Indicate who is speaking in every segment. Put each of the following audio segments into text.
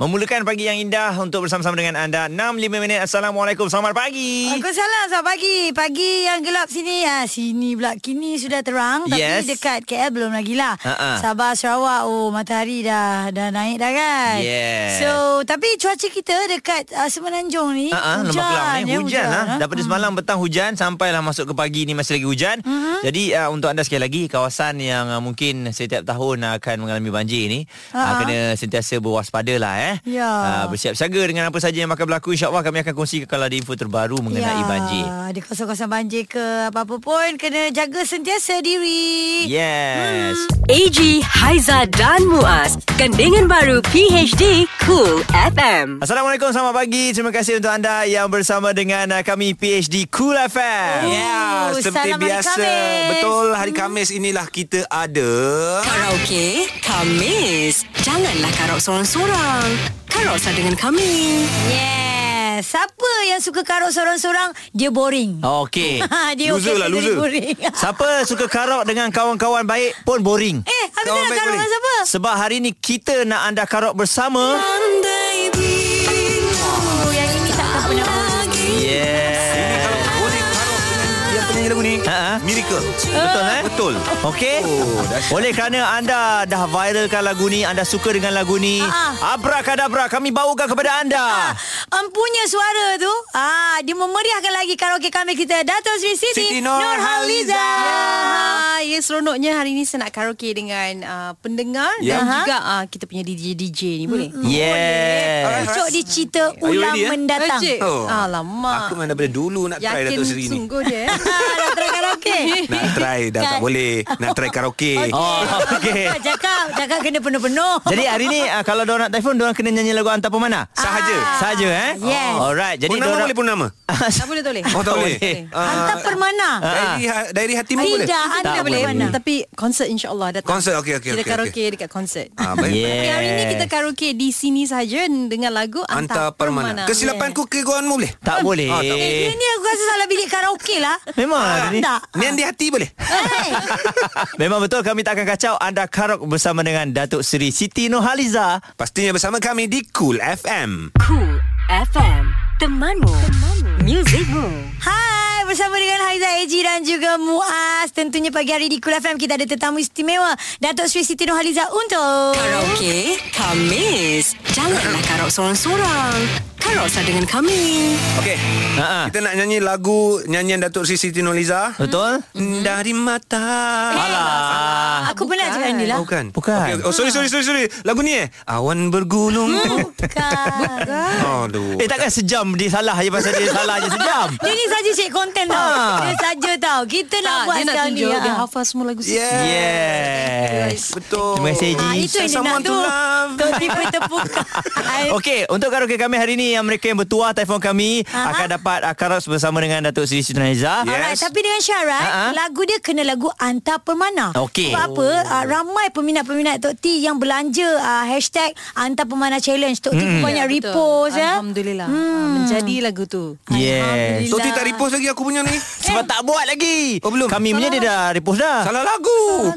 Speaker 1: Memulakan pagi yang indah untuk bersama-sama dengan anda 6.5 minit Assalamualaikum Selamat pagi
Speaker 2: Waalaikumsalam Selamat pagi Pagi yang gelap sini ha, Sini pula Kini sudah terang Tapi
Speaker 1: Yes.
Speaker 2: dekat KL belum lagi lah
Speaker 1: Ha-ha.
Speaker 2: Sabah, Sarawak Oh matahari dah Dah naik dah kan
Speaker 1: Yes.
Speaker 2: So Tapi cuaca kita Dekat uh, Semenanjung ni
Speaker 1: Ah, ah, Lembah Kelang ni
Speaker 2: ya,
Speaker 1: hujan, hujan ah.
Speaker 2: ha.
Speaker 1: Daripada semalam petang hujan sampailah masuk ke pagi ni masih lagi hujan.
Speaker 2: Mhm.
Speaker 1: Mm-hmm. Jadi uh, untuk anda sekali lagi kawasan yang uh, mungkin setiap tahun akan mengalami banjir ni uh,
Speaker 2: Ah, ah.
Speaker 1: kena sentiasa berwaspadalah eh.
Speaker 2: Ya.
Speaker 1: Ah, bersiap siaga dengan apa saja yang akan berlaku insya-Allah kami akan kongsikan kalau ada info terbaru mengenai
Speaker 2: Ya,
Speaker 1: banjir.
Speaker 2: Ada kawasan-kawasan banjir ke Apa-apa pun Kena jaga sentiasa diri
Speaker 1: Yes.
Speaker 3: AG Hmm. Haiza dan Muaz, gandingan baru PHD Cool FM.
Speaker 1: Assalamualaikum, selamat pagi. Terima kasih untuk anda yang bersama dengan uh, kami PhD Cool
Speaker 2: Oh,
Speaker 1: FM.
Speaker 4: Ya, seperti
Speaker 2: salam hari
Speaker 4: biasa.
Speaker 2: Khamis.
Speaker 4: Betul, hari Khamis inilah kita ada.
Speaker 3: Karaoke, Kamis. Janganlah karaoke sorang-sorang. Karaoke dengan kami.
Speaker 2: Yes Siapa yang suka karok sorang-sorang Dia boring
Speaker 1: Oh, Okey.
Speaker 2: Ha, Dia
Speaker 4: Loser
Speaker 2: okey
Speaker 4: lah,
Speaker 2: sendiri
Speaker 4: loser.
Speaker 2: boring
Speaker 1: Siapa suka karok dengan kawan-kawan baik pun boring.
Speaker 2: Eh, aku
Speaker 4: Kawan
Speaker 2: tak nak
Speaker 4: baik
Speaker 2: karok
Speaker 4: boleh.
Speaker 2: dengan siapa?
Speaker 1: Sebab hari ni kita nak anda karok bersama.
Speaker 2: Oh, yang ini takkan pernah boring.
Speaker 4: Ini
Speaker 1: Yeah.
Speaker 4: kalau boleh karok dengan yang penyanyi lagu ni.
Speaker 1: Ha, ha.
Speaker 4: Miracle.
Speaker 1: Betul eh?
Speaker 4: Betul.
Speaker 1: Okey.
Speaker 4: Oh, dahsyat.
Speaker 1: Oleh kerana anda dah viralkan lagu ni, anda suka dengan lagu
Speaker 2: Ha,
Speaker 1: ni,
Speaker 2: Ha-ha.
Speaker 1: abrakadabra kami bawakan kepada anda.
Speaker 2: Ha. Empunya suara tu ah Dia memeriahkan lagi karaoke kami kita Dato' Sri Siti,
Speaker 4: Siti Nurhaliza.
Speaker 5: Ah, ya seronoknya hari ni saya nak karaoke dengan uh, pendengar dan
Speaker 4: Ya.
Speaker 2: Aha.
Speaker 5: juga uh, kita punya DJ DJ ni boleh.
Speaker 1: Yes.
Speaker 2: Esok dicerita ulang
Speaker 4: ready, eh?
Speaker 2: mendatang
Speaker 5: Ejek.
Speaker 4: Oh. Aku
Speaker 5: Alamak.
Speaker 4: memang daripada dulu nak try
Speaker 5: Yakin
Speaker 4: Dato' Seri ni.
Speaker 5: sungguh dia. eh.
Speaker 2: Ah, Nak try karaoke
Speaker 4: Nak try dah tak
Speaker 2: Kan.
Speaker 4: boleh. Nak try karaoke.
Speaker 1: Oh,
Speaker 2: Okay.
Speaker 1: okey.
Speaker 2: Cakap Cakap kena penuh-penuh
Speaker 1: Jadi hari ni uh, kalau diorang nak telefon diorang kena nyanyi lagu hantar pemanah.
Speaker 4: Sahaja.
Speaker 1: Saja eh.
Speaker 2: Ah. Yes.
Speaker 1: Alright. Jadi
Speaker 4: Purnama
Speaker 1: diorang-
Speaker 4: boleh purnama?
Speaker 5: tak boleh tak boleh.
Speaker 4: Oh, tak boleh.
Speaker 1: Boleh.
Speaker 2: Hantar permana
Speaker 1: Ah.
Speaker 4: Diary, ha- diary hatimu boleh?
Speaker 2: Tidak
Speaker 1: Tak
Speaker 2: Anda
Speaker 5: Tak boleh. Hmm.
Speaker 2: boleh
Speaker 1: Mana?
Speaker 5: Tapi konsert insya-Allah datang.
Speaker 4: Konsert, okey, okey,
Speaker 5: Kita
Speaker 4: okey,
Speaker 5: karaoke dekat konsert.
Speaker 4: Ah, baik.
Speaker 1: Yeah.
Speaker 5: Tapi hari ni kita karaoke di sini saja dengan lagu
Speaker 4: Hantar
Speaker 5: Anta
Speaker 4: permana.
Speaker 5: Permana.
Speaker 4: Kesilapanku keguanmu boleh?
Speaker 1: Tak boleh.
Speaker 4: Ah, tak
Speaker 2: Eh, Dia ni aku rasa salah bilik karaoke lah
Speaker 1: Memang hari Ah, ni.
Speaker 2: Tak
Speaker 4: Nian di hati boleh?
Speaker 2: Hey.
Speaker 1: Memang betul kami tak akan kacau anda karok bersama dengan Datuk Seri Siti Nurhaliza.
Speaker 4: Pastinya bersama kami di Cool FM.
Speaker 3: Cool FM, temanmu, temanmu. muzikmu.
Speaker 2: Hai, bersama dengan Haiza Eji dan juga Muaz. Tentunya pagi hari di Kul FM kita ada tetamu istimewa, Datuk Sri Siti Nurhaliza untuk
Speaker 3: Karaoke Kamis Janganlah karaoke sorang-sorang Karaoke dengan kami
Speaker 4: Okey.
Speaker 1: Ha-ha.
Speaker 4: Kita nak nyanyi lagu nyanyian Datuk Sri Siti Nurliza. Hmm.
Speaker 1: Betul?
Speaker 4: Dari mata.
Speaker 1: Alah.
Speaker 2: Aku pernah
Speaker 5: bukan.
Speaker 2: cakap dengan dia lah.
Speaker 4: Oh, bukan.
Speaker 1: Bukan.
Speaker 4: Okey, okey. Oh sorry sorry sorry sorry. Lagu ni eh. Awan bergulung.
Speaker 2: Bukan.
Speaker 4: Aduh.
Speaker 1: Eh takkan sejam dia salah je pasal dia salah je sejam.
Speaker 2: Dia ni saja cik konten tau.
Speaker 1: Ah.
Speaker 2: Dia saja tau. Kita nak
Speaker 5: Tak,
Speaker 2: buat
Speaker 5: dia nak
Speaker 2: sekarang ni.
Speaker 5: tunjuk dia
Speaker 2: ah.
Speaker 5: hafal semua lagu Siti.
Speaker 1: Yes.
Speaker 4: Betul.
Speaker 1: Terima kasih, Ji.
Speaker 2: Ah, itu yang dia nak
Speaker 4: Someone
Speaker 2: tu.
Speaker 4: to love.
Speaker 2: Tu tipu terpuka.
Speaker 1: Okey, untuk karaoke kami hari ni yang mereka yang bertuah telefon kami
Speaker 2: Aha.
Speaker 1: akan dapat uh, karaoke bersama dengan Datuk Seri Siti Nurhaliza.
Speaker 4: Yeah.
Speaker 2: Alright,
Speaker 4: Yes.
Speaker 2: tapi dengan syarat
Speaker 1: Ha-ha.
Speaker 2: uh-huh. lagu dia kena lagu antar permana.
Speaker 1: Okey.
Speaker 2: Sebab apa? Uh, ramai peminat-peminat Tok T yang belanja uh, hashtag antar permana challenge. Tok T hmm. banyak
Speaker 5: Betul.
Speaker 2: repost ya.
Speaker 5: Alhamdulillah. Ah, menjadi lagu tu.
Speaker 1: Yes.
Speaker 4: Toti tak repost lagi aku punya ni. Eh.
Speaker 1: Sebab tak buat lagi.
Speaker 4: Oh, belum?
Speaker 1: Kami punya dia dah repost dah.
Speaker 4: Salah lagu.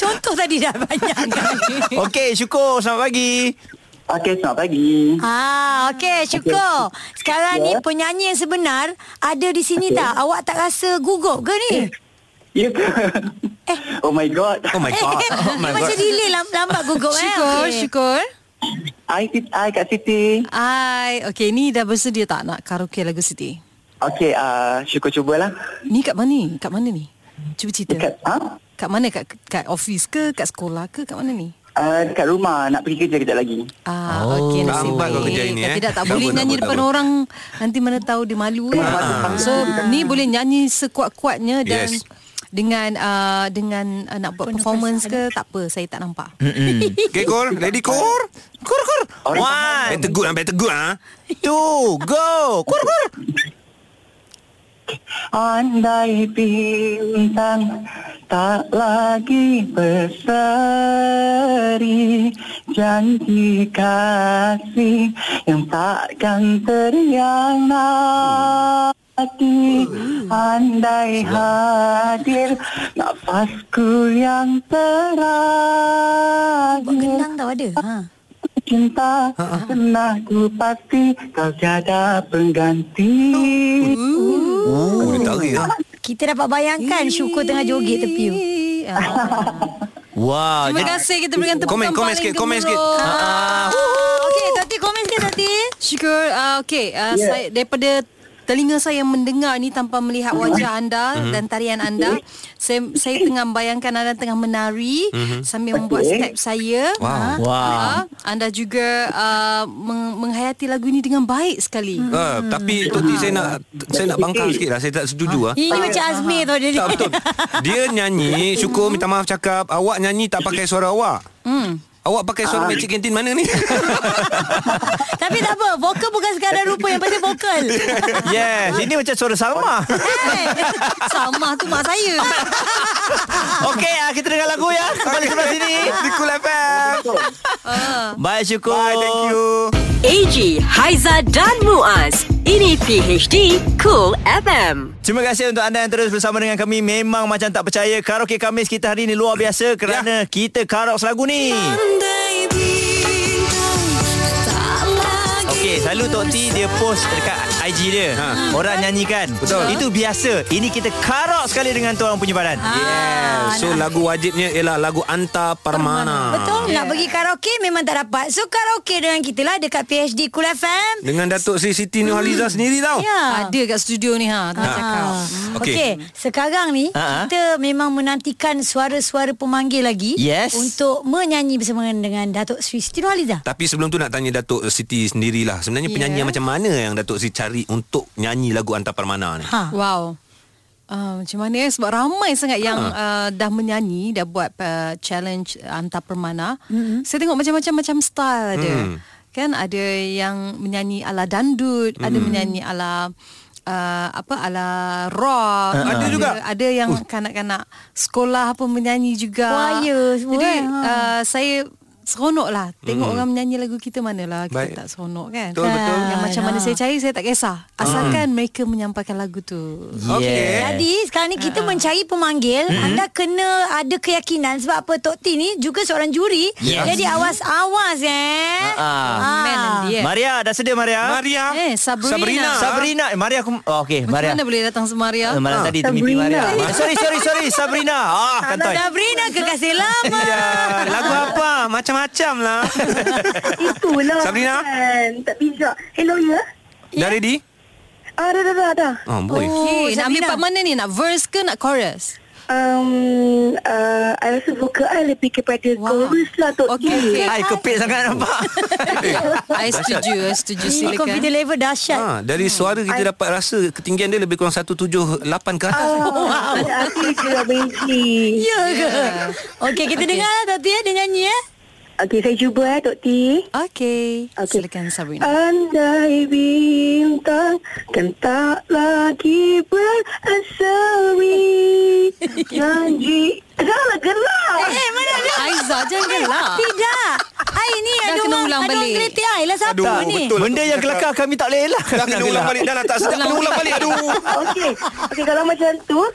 Speaker 2: Contoh tadi dah banyak kali.
Speaker 1: Okey, syukur. Selamat pagi.
Speaker 6: Okey, selamat pagi.
Speaker 2: Ah, okey, syukur. Sekarang ni
Speaker 6: Ya.
Speaker 2: penyanyi yang sebenar ada di sini okay. tak? Awak tak rasa gugup ke ni?
Speaker 6: Ya ke?
Speaker 7: Eh.
Speaker 6: Oh my god.
Speaker 4: Oh my god. Oh my
Speaker 2: Dia
Speaker 4: god.
Speaker 2: macam delay lam- lambat gugup eh.
Speaker 5: Syukur,
Speaker 2: Okey.
Speaker 5: syukur.
Speaker 6: Hai, Siti- hai Kak Siti.
Speaker 5: Ai, okey ni dah bersedia tak nak karaoke lagu Siti?
Speaker 6: Okey, uh, syukur cubalah.
Speaker 5: Ni kat mana ni? Kat mana ni? Cuba cerita.
Speaker 6: Dekat ha?
Speaker 5: Kat mana? Kat, kat office ke? Kat sekolah ke? Kat mana ni?
Speaker 6: Uh, dekat rumah nak pergi kerja kejap lagi.
Speaker 5: Ah, oh, okey nasib
Speaker 4: Lambat
Speaker 5: baik.
Speaker 4: kau kerja ini,
Speaker 5: Kalau
Speaker 4: eh.
Speaker 5: Tidak tak
Speaker 4: Tak
Speaker 5: boleh
Speaker 4: apa, tak
Speaker 5: nyanyi
Speaker 4: apa,
Speaker 5: depan
Speaker 4: tak apa.
Speaker 5: orang nanti mana tahu dia malu. kan?
Speaker 6: Ah.
Speaker 5: So ni boleh nyanyi sekuat-kuatnya dan
Speaker 4: Yes.
Speaker 5: dengan uh, dengan uh, nak buat performance ke tak apa saya tak nampak.
Speaker 4: Okay, Kor. Ready, Kor?
Speaker 1: Kur kur.
Speaker 6: Orang
Speaker 1: One,
Speaker 4: Better good, ah, better good. ah.
Speaker 1: two, go. Kur kur.
Speaker 6: Andai bintang tak lagi berseri Janji kasih yang takkan terianati Andai hadir nafasku yang
Speaker 2: Buat
Speaker 6: terakhir
Speaker 2: kendang tau ada. Ha.
Speaker 6: cinta
Speaker 4: Ha,
Speaker 6: Pernah ku pasti kau tiada pengganti
Speaker 4: Oh, dia tarik lah.
Speaker 2: Kita dapat bayangkan Syukur tengah joget tepi. tu.
Speaker 5: Ah.
Speaker 1: Wow.
Speaker 5: Terima
Speaker 1: jadi-
Speaker 5: kasih kita berikan tepukan
Speaker 4: Komen, komen
Speaker 5: paling
Speaker 4: sikit, komen sikit. Ah.
Speaker 5: gemuruh.
Speaker 2: Ah.
Speaker 1: Ah,
Speaker 2: Okey, Tati komen sikit Tati.
Speaker 5: Syukur. Uh, Okey, uh,
Speaker 6: Ya.
Speaker 5: saya daripada telinga saya mendengar ni tanpa melihat wajah anda mm-hmm. dan tarian anda. Saya saya tengah bayangkan anda tengah menari mm-hmm. sambil membuat
Speaker 6: Okey.
Speaker 5: step saya. Wow.
Speaker 1: Wow.
Speaker 5: anda juga uh, meng- menghayati lagu ini dengan baik sekali. Mm.
Speaker 4: Ah, tapi Toti saya nak saya nak bangkang sikit lah. Saya tak setuju lah.
Speaker 2: Ini macam Azmi tau dia.
Speaker 4: Tak betul. Dia nyanyi, syukur minta maaf cakap, awak nyanyi tak pakai suara awak. Hmm. Awak pakai
Speaker 7: Ah.
Speaker 6: Ah.
Speaker 4: suara Magic Canteen mana ni?
Speaker 2: Tapi tak apa, vokal bukan sekadar rupa yang penting vokal.
Speaker 1: Yes, ini macam suara Salma.
Speaker 2: Hey.
Speaker 5: Sama tu mak saya.
Speaker 1: Okey, ah, kita dengar lagu ya. Kembali sebelah sini.
Speaker 4: Di Cool FM.
Speaker 7: Ah.
Speaker 1: Bye, syukur.
Speaker 4: Bye, thank you.
Speaker 3: AG, Haiza dan Muaz. Ini PHD Cool FM.
Speaker 1: Terima kasih untuk anda yang terus bersama dengan kami. Memang macam tak percaya karaoke Kamis kita hari ini luar biasa
Speaker 4: Ya.
Speaker 1: kerana kita karaoke lagu ni. Okey, selalu Tok T dia post dekat IG dia. Ha. Orang nyanyikan. Betul. Itu biasa. Ini kita karaoke sekali dengan tuan punya badan.
Speaker 4: Yeah. So lagu wajibnya ialah lagu Anta Parmana.
Speaker 5: Ah.
Speaker 2: Betul, lah. nak pergi karaoke memang tak dapat. So karaoke dengan kita lah dekat PhD Cool FM.
Speaker 4: Dengan Datuk Sri Siti Nurhaliza sendiri tau.
Speaker 2: Ya. Ah.
Speaker 5: Ada kat studio ni ha. Tak cakap.
Speaker 4: Okey. Ah,
Speaker 2: Okey, sekarang ni
Speaker 1: Ha, ha.
Speaker 2: kita memang menantikan suara-suara pemanggil lagi
Speaker 1: Yes.
Speaker 2: untuk menyanyi bersama dengan Datuk Sri Siti Nurhaliza.
Speaker 4: Tapi sebelum tu nak tanya Datuk Siti sendirilah. Sebenarnya yeah. penyanyi yang macam mana yang Datuk Sri cari untuk nyanyi lagu Anta Parmana ni?
Speaker 2: Ha.
Speaker 5: Wow. Uh, macam mana eh sebab ramai sangat yang uh, dah menyanyi dah buat uh, challenge antar permana. Mm-hmm. Saya tengok macam-macam macam style ada.
Speaker 8: Hmm.
Speaker 5: Mm. Kan ada yang menyanyi ala dandut, mm. ada
Speaker 1: Hmm.
Speaker 5: menyanyi ala uh, apa ala rock,
Speaker 1: Ah,
Speaker 5: uh,
Speaker 4: Ada juga?
Speaker 5: Ada yang kanak-kanak sekolah pun menyanyi juga.
Speaker 2: Choir semua,
Speaker 5: Jadi
Speaker 2: eh, ha.
Speaker 5: uh, saya seronok lah Tengok
Speaker 1: Hmm.
Speaker 5: orang menyanyi lagu kita manalah Kita
Speaker 4: Baik.
Speaker 5: tak seronok kan
Speaker 4: Betul, betul.
Speaker 5: Yang macam mana
Speaker 2: Ah.
Speaker 5: saya cari Saya tak kisah
Speaker 1: Hmm.
Speaker 5: Asalkan mereka menyampaikan lagu tu
Speaker 4: Okey.
Speaker 2: Jadi sekarang ni kita mencari pemanggil hmm. Anda kena ada keyakinan Sebab apa Tok T ni juga seorang juri
Speaker 1: Yes.
Speaker 2: Jadi awas-awas eh
Speaker 1: Ah.
Speaker 5: Man and the air.
Speaker 1: Maria, dah sedia Maria?
Speaker 4: Maria.
Speaker 5: Eh, Sabrina.
Speaker 4: Sabrina.
Speaker 1: Sabrina. Eh, Maria aku... Oh, Okey,
Speaker 5: Macam
Speaker 1: Maria.
Speaker 5: mana boleh datang semaria? Ah.
Speaker 1: Eh, Malam tadi termimpi Maria. Eh, Sorry, sorry, sorry. Sabrina. Ah, kantoi.
Speaker 2: Sabrina kekasih lama
Speaker 4: Ya, lagu apa? Macam-macam lah.
Speaker 7: Itulah
Speaker 1: Ha?
Speaker 4: Sabrina?
Speaker 7: kan. Tak bijak Hello ya
Speaker 4: Dah ready?
Speaker 7: Ah dah dah dah, dah.
Speaker 4: Oh, boy.
Speaker 2: Oh,
Speaker 5: Okay, nak ambil
Speaker 2: Sabrina.
Speaker 5: part mana ni? Nak verse ke nak chorus?
Speaker 7: Um, uh, I rasa vokal I lebih kepada wow. chorus lah Tok
Speaker 5: Okay,
Speaker 7: T.
Speaker 5: okay.
Speaker 1: Hai, kepit sangat nampak. Eh,
Speaker 5: I setuju, I Ya, setuju
Speaker 2: Ini
Speaker 5: silakan.
Speaker 2: confident level dahsyat
Speaker 4: Ha, dari
Speaker 5: Hmm.
Speaker 4: suara kita dapat rasa ketinggian dia lebih kurang 178 ke atas.
Speaker 7: Ah, Ada hati gelap benci
Speaker 2: Oh, Ya ke? Okey kita dengar lah Tok T eh, dia nyanyi eh
Speaker 7: Okay saya cuba eh Tok T
Speaker 5: Okay,
Speaker 7: Okey.
Speaker 5: silakan Sabrina.
Speaker 7: Andai bintang kan tak lagi berasri Janji Janganlah gelap
Speaker 2: Eh mana ada
Speaker 5: Aiza, jangan gelak.
Speaker 2: Tidak Ai ni
Speaker 5: Dah
Speaker 2: ada
Speaker 5: kena
Speaker 2: orang
Speaker 5: ulang
Speaker 2: Ada orang
Speaker 5: balik.
Speaker 2: kritik Ai lah siapa
Speaker 4: Aduh,
Speaker 2: ni
Speaker 4: betul.
Speaker 1: Benda yang kelakar kami tak boleh elak.
Speaker 4: Dah kena ulang balik Dah lah tak sedap Kena ulang balik Aduh
Speaker 7: Okey. Okey kalau macam tu, uh,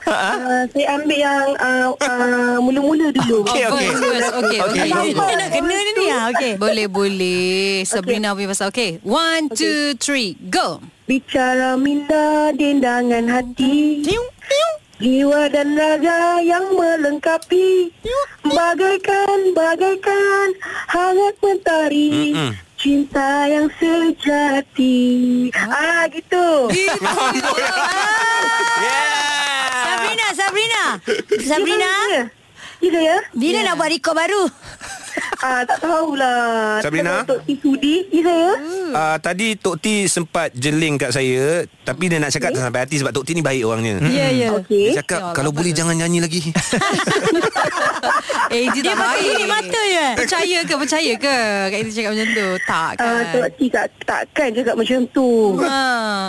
Speaker 7: saya ambil yang uh, uh, mula-mula dulu.
Speaker 1: Okey, okey.
Speaker 5: Verse, verse. Okay, okay.
Speaker 1: Okey.
Speaker 2: Dia nak kena ni ni ah, Okey
Speaker 5: Boleh, boleh. Sabrina punya pasal. Okay, one, two, three, go.
Speaker 7: Bicara minda dendangan hati. Jiwa dan raga yang melengkapi Bagaikan, bagaikan hangat mentari
Speaker 4: Mm-mm.
Speaker 7: Cinta yang sejati Ah gitu
Speaker 4: Yeah
Speaker 2: Sabrina Sabrina Sabrina
Speaker 7: Gila ya
Speaker 2: Bila nak buat record baru
Speaker 7: ah, Tak tahulah
Speaker 4: Sabrina?
Speaker 7: Untuk sudi Gila ya
Speaker 1: Hmm.
Speaker 5: Ah.
Speaker 4: Uh, tadi Tok T sempat jeling kat saya Tapi dia nak
Speaker 5: Hmm.
Speaker 4: cakap okay. sampai hati Sebab Tok T ni baik orangnya
Speaker 2: Ya ya
Speaker 7: Okey
Speaker 4: Dia cakap Kalau boleh jangan nyanyi lagi
Speaker 5: AG tak
Speaker 2: Eh, Dia pakai
Speaker 5: baik.
Speaker 2: gini mata je.
Speaker 5: Percaya ke percaya ke Kak Ida cakap macam tu? Tak kan.
Speaker 7: Ah, Tok T tak, takkan cakap macam tu.
Speaker 5: ha.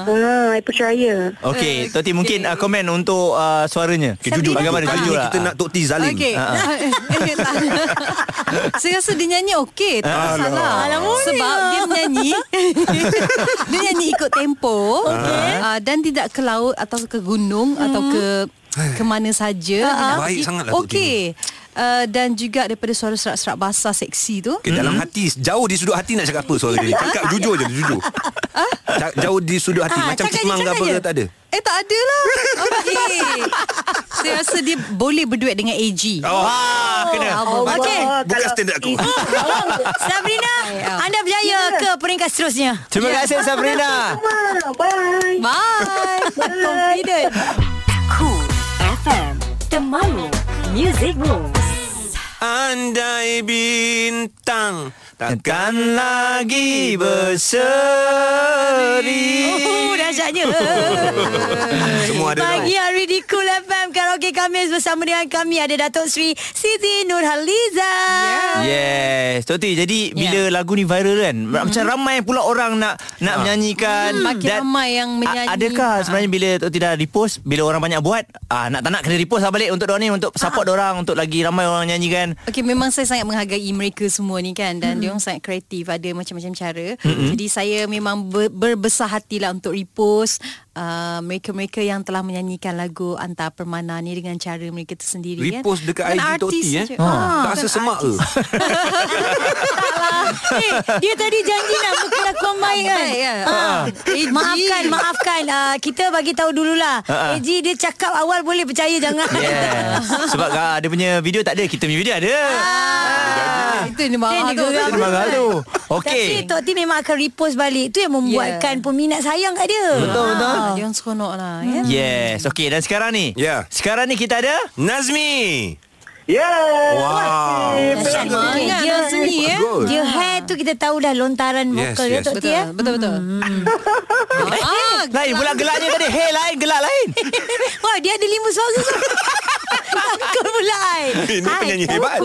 Speaker 7: Ha, I percaya.
Speaker 1: Okey,
Speaker 5: Eh,
Speaker 1: Toti mungkin
Speaker 5: okey.
Speaker 1: uh, komen untuk uh, suaranya.
Speaker 4: Okay, jujur.
Speaker 1: Bagaimana
Speaker 4: Kali
Speaker 1: jujur
Speaker 4: ni
Speaker 1: lah.
Speaker 4: kita nak Tok T zalim.
Speaker 5: Okey.
Speaker 4: ha.
Speaker 5: Saya rasa dia nyanyi okey, tak
Speaker 4: Alah.
Speaker 5: masalah. Sebab dia menyanyi dia nyanyi ikut tempo uh, dan tidak ke laut atau ke gunung atau ke ke mana saja. Dia nak
Speaker 4: Eh. Baik
Speaker 5: pergi
Speaker 4: sangatlah Tok T.
Speaker 5: Okey. Uh, dan juga daripada suara serak-serak basah seksi tu. Hmm.
Speaker 4: Okay, dalam hati jauh di sudut hati nak cakap apa suara dia. Cakap jujur je, jujur. Ca- jauh di sudut hati
Speaker 5: Ah,
Speaker 4: macam
Speaker 5: cakap je,
Speaker 4: cimang ke
Speaker 5: cakap
Speaker 4: apa
Speaker 5: je.
Speaker 4: ke tak ada.
Speaker 5: Eh tak ada lah Okey Saya rasa dia boleh berduet dengan AG
Speaker 4: Oh.
Speaker 1: Ah, kena.
Speaker 5: Allah.
Speaker 2: Okey.
Speaker 4: Bukan standard aku.
Speaker 5: Ya
Speaker 2: Sabrina, anda berjaya ke peringkat seterusnya? Ya.
Speaker 1: Terima kasih Sabrina.
Speaker 7: Ah, bye.
Speaker 5: Bye Confident
Speaker 3: Cool FM Temanmu Music Rules
Speaker 4: Andai bintang
Speaker 1: Takkan lagi berseri.
Speaker 2: Oh, dahsyatnya.
Speaker 4: Semua ada
Speaker 2: Pagi
Speaker 1: lah.
Speaker 2: hari di Cool FM Karaoke Kamis bersama dengan kami ada Datuk Sri Siti Nurhaliza.
Speaker 1: Yes Toti Jadi bila lagu ni viral kan mm-hmm. Macam ramai pula orang Nak nak menyanyikan
Speaker 5: Hmm, makin
Speaker 1: Dan
Speaker 5: ramai yang menyanyi.
Speaker 1: a- Adakah
Speaker 5: Ha.
Speaker 1: sebenarnya Bila Toti dah repost Bila orang banyak buat ah, Nak tak nak kena repost lah balik Untuk diorang ni Untuk support diorang Untuk lagi ramai orang nyanyikan
Speaker 5: Okay memang saya sangat menghargai mereka semua ni kan Dan mm. diorang sangat kreatif Ada macam-macam cara mm-hmm. Jadi saya memang ber, berbesar hatilah untuk repost uh, Mereka-mereka yang telah menyanyikan lagu Antara Permana ni Dengan cara mereka tersendiri
Speaker 4: Repost dekat
Speaker 5: kan
Speaker 4: IG
Speaker 5: Bukan
Speaker 4: Tok T
Speaker 5: artis Ah.
Speaker 4: eh.
Speaker 5: saja.
Speaker 4: Ha. Tak
Speaker 5: bukan
Speaker 4: rasa semak ke?
Speaker 5: artis.
Speaker 2: Eh, dia tadi janji nak berkelakuan baik kan?
Speaker 5: Baik, ya.
Speaker 2: Ha.
Speaker 5: Ah.
Speaker 2: Eh, Maafkan, maafkan. Ah, kita bagi tahu dululah.
Speaker 1: Ha, ha.
Speaker 2: Eji dia cakap awal boleh percaya jangan.
Speaker 1: Yes Sebab ah, dia punya video tak ada Kita punya video ada
Speaker 5: Ah, Itu yang dia marah
Speaker 2: Kan Dia
Speaker 5: tu
Speaker 2: geram.
Speaker 1: Terima kasih
Speaker 2: Tapi
Speaker 1: Okey
Speaker 2: Tok T memang akan repost balik. Itu yang membuatkan peminat sayang kat dia.
Speaker 1: Betul betul
Speaker 5: Ya. Ah, Dia orang seronok lah ya?
Speaker 1: Yes Okey dan sekarang ni
Speaker 4: Ya.
Speaker 1: Sekarang ni kita ada
Speaker 4: Nazmi.
Speaker 6: Ya, Yeah.
Speaker 4: Wow.
Speaker 2: Dahsyat
Speaker 5: Sangat.
Speaker 2: betul.
Speaker 5: Ingat
Speaker 2: Dia
Speaker 5: Nazmi, eh.
Speaker 4: Bagus.
Speaker 2: Dia hair tu kita tahu dah lontaran
Speaker 4: Yes,
Speaker 2: vokal dia
Speaker 4: yes.
Speaker 2: Tok T
Speaker 5: Betul,
Speaker 2: eh.
Speaker 5: betul betul. ah,
Speaker 1: Lain pula gelaknya tadi Hey lain gelak lain
Speaker 2: Wah dia ada lima suara tu Takut pula I
Speaker 4: Ini penyanyi hebat.